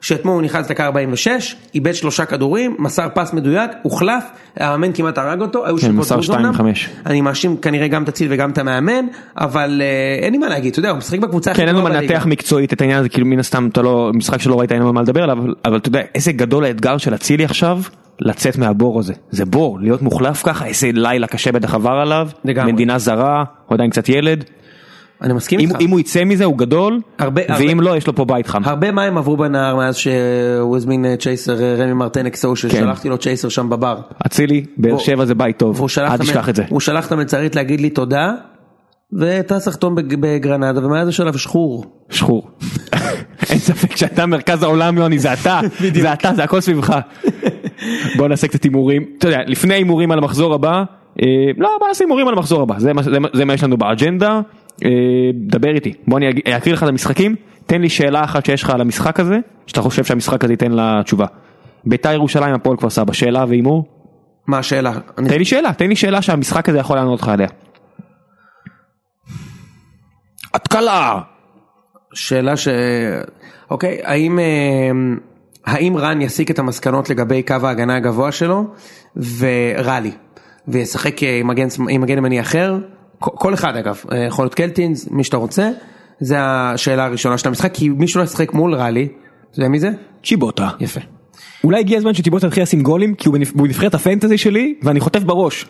B: שאתמול הוא נכנס דקה 46, איבד שלושה כדורים, מסר פס מדויק, הוחלף, המאמן כמעט הרג אותו, היו
A: כן,
B: שיפוט
A: מסר
B: דרוז
A: 2,
B: אומנם.
A: חמש.
B: אני מאשים כנראה גם את אציל וגם את המאמן, אבל אה, אין לי מה להגיד, אתה יודע, הוא משחק בקבוצה הכי
A: כן אין לנו
B: טובה
A: מה
B: בליגה.
A: לנתח מקצועית את העניין הזה כאילו מן הסתם אתה לא משחק שלא ראית אין לנו מה לדבר עליו אבל- אבל אתה יודע איזה גדול האתגר של אצילי עכשיו לצאת מהבור הזה זה בור להיות מוחלף ככה איזה לילה קשה בטח עבר עליו
B: לגמרי.
A: מדינה זרה הוא עדיין קצת ילד
B: אני מסכים
A: אם,
B: איתך.
A: אם הוא יצא מזה הוא גדול
B: הרבה-
A: ואם
B: הרבה-
A: לא יש לו פה בית חם.
B: הרבה מים עברו בנהר מאז שהוא הזמין אה, צ'ייסר אה, רמי מרטנק
A: כן.
B: סו ששלחתי לו צ'ייסר שם בבר.
A: אצילי באר
B: והוא-
A: שבע זה בית טוב
B: והוא שלח
A: אל
B: את המ-
A: תשכח את זה.
B: הוא שלח את המלצרית להגיד לי תודה, וטס לחתום בג- בגרנדה, ומאז יש עליו שחור.
A: שחור. אין ספק שאתה מרכז העולם יוני זה אתה זה אתה זה הכל סביבך. בוא נעשה קצת הימורים אתה יודע לפני הימורים על המחזור הבא אה, לא בוא נעשה הימורים על המחזור הבא זה מה, זה, מה- זה מה יש לנו באג'נדה אה, דבר איתי בוא אני אג- אקריא לך את המשחקים תן לי שאלה אחת שיש לך על המשחק הזה שאתה חושב שהמשחק הזה ייתן לה תשובה. ביתר ירושלים הפועל כפר סבא שאלה והימור
B: מה השאלה? אני-
A: תן לי שאלה תן לי שאלה שהמשחק הזה יכול לענות לך עליה. התקלה.
B: שאלה ש... אוקיי, האם, אה, האם רן יסיק את המסקנות לגבי קו ההגנה הגבוה שלו ורע לי, וישחק אה, עם מגן, עם מגן ימני אחר, כל- כל אחד אגב, אה, יכול להיות קלטינס, מי שאתה רוצה, זה השאלה הראשונה של המשחק, כי מישהו לא ישחק מול רע לי, אתה יודע מי זה?
A: צ'יבוטה.
B: יפה.
A: אולי הגיע הזמן שטיבוט יתחיל לשים גולים כי הוא בנבח- הוא בנבחרת הפנטזי שלי ואני חוטף בראש. אה,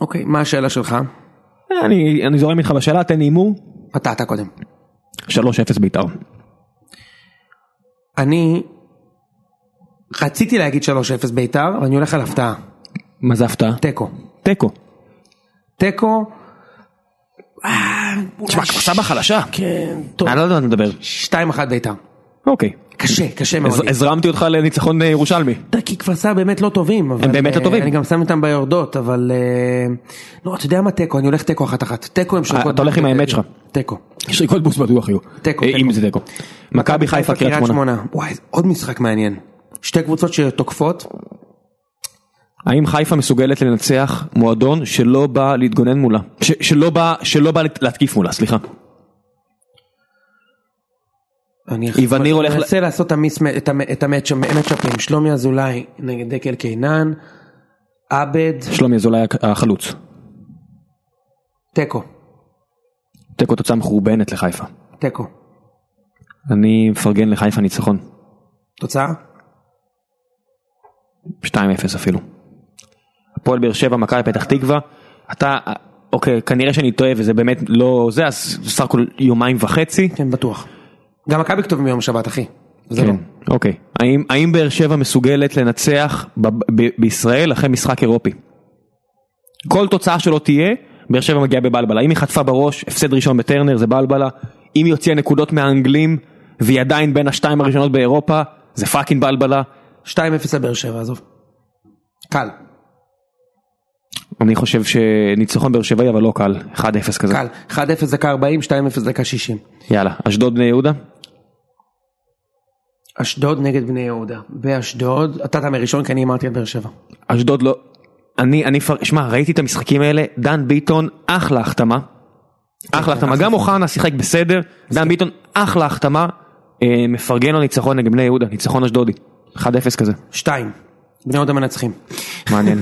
B: אוקיי, מה השאלה שלך?
A: אני אני זורם איתך בשאלה תן לי הימור
B: אתה, אתה קודם.
A: 3-0 בית"ר.
B: אני רציתי להגיד 3-0 בית"ר, אבל אני הולך על הפתעה,
A: מה זה הפתעה?
B: תיקו.
A: תיקו.
B: תיקו,
A: תשמע כפר סבא חלשה.
B: כן, טוב,
A: אני לא יודע על מה אתה מדבר.
B: 2-1 בית"ר.
A: אוקיי.
B: קשה, קשה מאוד.
A: אז- הזרמתי אותך לניצחון אה, ירושלמי.
B: אתה כי כפר סבא באמת לא טובים. אבל,
A: באמת לא
B: אה,
A: טובים.
B: אני גם שם אותם ביורדות, אבל... אה, לא, אתה יודע מה תיקו, אני הולך תיקו אחת אחת. תיקו הם שריקות.
A: אה, אתה הולך עם האמת שלך.
B: תיקו.
A: שריקות בוס בטוח יהיו.
B: תיקו,
A: אה,
B: תיקו.
A: אם זה תיקו. מכבי חיפה קריית שמונה.
B: וואי, עוד משחק מעניין. שתי קבוצות שתוקפות,
A: האם חיפה מסוגלת לנצח מועדון שלא בא להתגונן מולה? ש- שלא בא שלא בא להת- להתקיף מולה סליחה.
B: אני
A: איווניר
B: אני
A: הולך ל-
B: מנסה לעשות את המיס- את המ- את המצ'אפים, שלומי אזולאי נגד דקל קינן, עבד,
A: שלומי אזולאי החלוץ.
B: תיקו,
A: תיקו תוצאה מחורבנת לחיפה.
B: תיקו.
A: אני מפרגן לחיפה ניצחון.
B: תוצאה?
A: 2-0 אפילו. הפועל באר שבע, מכבי פתח תקווה, אתה, אוקיי, כנראה שאני טועה וזה באמת לא זה, אז סך הכל יומיים וחצי.
B: כן, בטוח. גם מכבי כתובים ביום שבת, אחי. זה לא.
A: כן, אוקיי. האם, האם באר שבע מסוגלת לנצח ב- ב- בישראל אחרי משחק אירופי? כל תוצאה שלא תהיה, באר שבע מגיעה בבלבלה. אם היא חטפה בראש, הפסד ראשון בטרנר זה בלבלה. אם היא הוציאה נקודות מהאנגלים, והיא עדיין בין השתיים הראשונות באירופה, זה פאקינג בלבלה.
B: 2-0 לבאר שבע, עזוב. קל,
A: אני חושב שניצחון באר שבעי אבל לא קל, 1-0 כזה.
B: קל. 1-0 דקה 40, 2-0 דקה 60.
A: יאללה, אשדוד בני יהודה?
B: אשדוד נגד בני יהודה. באשדוד, אתה תאמר ראשון כי אני אמרתי על באר שבע.
A: אשדוד לא. אני, אני, פר- שמע, ראיתי את המשחקים האלה, דן ביטון, אחלה החתמה. אחלה החתמה, גם אוחנה שיחק בסדר, דן ביטון, אחלה החתמה. אה, מפרגן לו ניצחון נגד בני יהודה, ניצחון אשדודי. 1-0 כזה,
B: 2. בני יהודה מנצחים.
A: מעניין.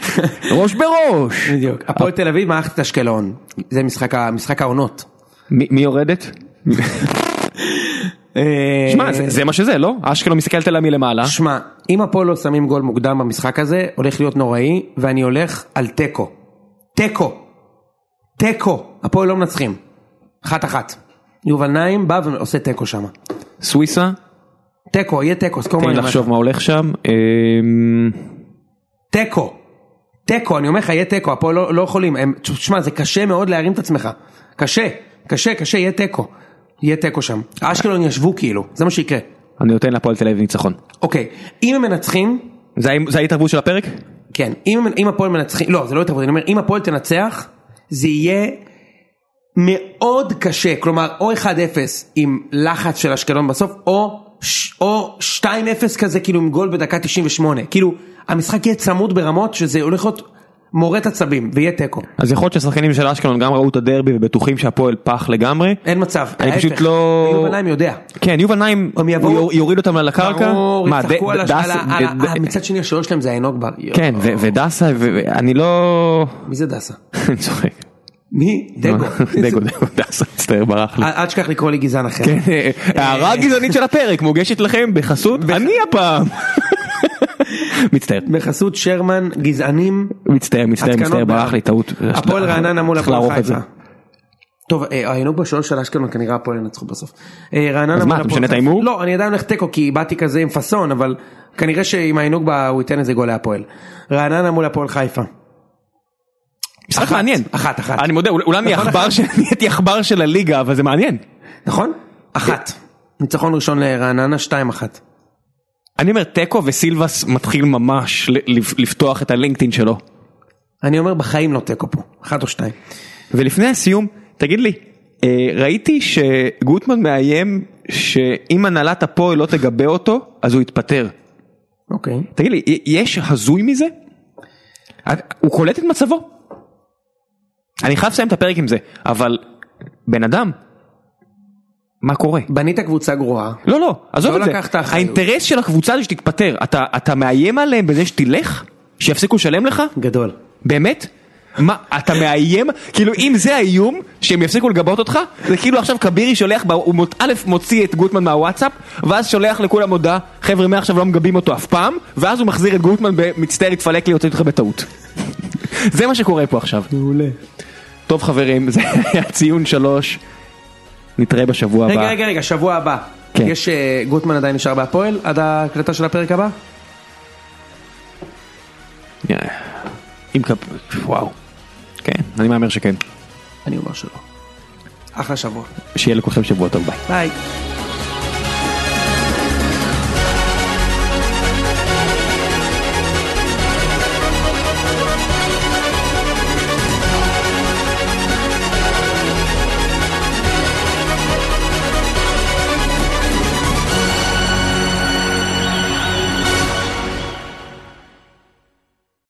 A: ראש בראש!
B: בדיוק. הפועל תל אביב מערכת את אשקלון. זה משחק ה- משחק העונות.
A: מי מי יורדת?
B: אה,
A: שמע, זה- זה מה שזה, לא? אשקלון מסתכלת עליה מלמעלה.
B: שמע, אם הפועל לא שמים גול מוקדם במשחק הזה, הולך להיות נוראי, ואני הולך על תיקו. תיקו. תיקו. הפועל לא מנצחים. אחת אחת. יובל נעים בא ועושה תיקו שם.
A: סוויסה,
B: תיקו, יהיה תיקו, סקור
A: תן
B: מה אני
A: לי
B: אומר לך.
A: לחשוב מה הולך שם. אה,
B: תיקו. תיקו, אני אומר לך, יהיה תיקו, הפועל לא, לא יכולים. הם, תשמע, זה קשה מאוד להרים את עצמך. קשה, קשה, קשה, יהיה תיקו. יהיה תיקו שם. אשקלון ישבו כאילו, זה מה שיקרה.
A: אני נותן להפועל תל אביב ניצחון.
B: אוקיי, אם הם מנצחים,
A: זה ההי- זה ההתערבות של הפרק?
B: כן, אם, הם- אם הפועל מנצחים, לא, זה לא התערבות, אני אומר, אם הפועל תנצח, זה יהיה מאוד קשה. כלומר, או 1-0 עם לחץ של אשקלון בסוף, או, ש- או 2-0 כזה, כאילו עם גול בדקה 98. כאילו, המשחק יהיה צמוד ברמות שזה הולך להיות מורט עצבים, ויהיה תיקו.
A: אז יכול להיות שהשחקנים של אשקלון גם ראו את הדרבי ובטוחים שהפועל פח לגמרי.
B: אין מצב.
A: אני
B: ההפך.
A: פשוט לא-
B: יובל נעים יודע.
A: כן, יובל נעים,
B: הם יבואו-
A: הוא יור- יוריד אותם על הקרקע.
B: ברור,
A: מה,
B: יצחקו
A: ד-
B: על
A: ד-
B: השאלה,
A: דס-
B: על
A: ד- ד-
B: ה- מצד שני השוער שלהם זה עינוג בר. יואו.
A: כן, ו- ודסה, ו- ואני לא...
B: מי זה דסה?
A: אני צוחק.
B: מי? דגו. אה.
A: דגו, דגו, דסה, מצטער, ברח לי.
B: אל אל תשכח לקרוא לי גזען אחר.
A: כן, אה, הערה הגזענית של הפרק מוגשת לכם בחסות אני הפעם. מצטער,
B: בחסות שרמן, גזענים,
A: מצטער, מצטער,
B: התקנות
A: מצטער, ברח
B: בעד.
A: לי, טעות. אה,
B: הפועל רעננה מול
A: צריך
B: הפועל
A: לערוך את זה.
B: חיפה. טוב, אה, העינוג בשוער של אשקלון כנראה הפועל ינצחו בסוף. אה, רעננה
A: אז
B: מול
A: מה, אתה
B: הפועל
A: משנה את
B: חיפה.
A: ההימור?
B: לא, אני עדיין הולך תיקו כי באתי כזה עם פאסון, אבל כנראה שעם העינוג בה הוא ייתן איזה גול להפועל. רעננה מול הפועל חיפה.
A: משחק מעניין.
B: אחת, אחת.
A: אני מודה, אול- אולי אני
B: נכון,
A: עכבר של- נהייתי עכבר של הליגה, אבל זה מעניין.
B: נכון? אחת.
A: אה.
B: ניצחון ראשון לרעננה, שתיים אחת.
A: אני אומר תיקו וסילבס מתחיל ממש ל- לפ- לפתוח את הלינקדאין שלו.
B: אני אומר בחיים לא תיקו פה, אחת או שתיים.
A: ולפני הסיום, תגיד לי, אה, ראיתי שגוטמן מאיים שאם הנהלת הפועל לא תגבה אותו, אז הוא יתפטר.
B: אוקיי.
A: תגיד לי, י- יש הזוי מזה? את- הוא קולט את מצבו? אני חייב לסיים את הפרק עם זה, אבל בן אדם, מה קורה?
B: בנית קבוצה גרועה.
A: לא לא, עזוב
B: לא
A: את זה,
B: לקחת אחריות.
A: האינטרס של הקבוצה זה שתתפטר, אתה, אתה מאיים עליהם בזה שתלך? שיפסיקו לשלם לך?
B: גדול.
A: באמת? מה, אתה מאיים? כאילו אם זה האיום שהם יפסיקו לגבות אותך, זה כאילו עכשיו כבירי שולח, ב- הוא מות- א' מוציא את גוטמן מהוואטסאפ, ואז שולח לכולם הודעה, חבר'ה מעכשיו לא מגבים אותו אף פעם, ואז הוא מחזיר את גוטמן במצטער התפלק לי, הוצאתי אותך בטעות. זה מה שקורה פה עכשיו.
B: מעולה.
A: טוב חברים, זה היה ציון שלוש, נתראה בשבוע הבא.
B: רגע, רגע, רגע, שבוע הבא.
A: כן.
B: יש, אה, גוטמן עדיין נשאר בהפועל עד ההקלטה של הפרק הבא?
A: עם כפ... וואו. כן, אני מהמר שכן.
B: אני אומר שלא. אחלה שבוע.
A: שיהיה לכולכם שבוע טוב, ביי.
B: ביי.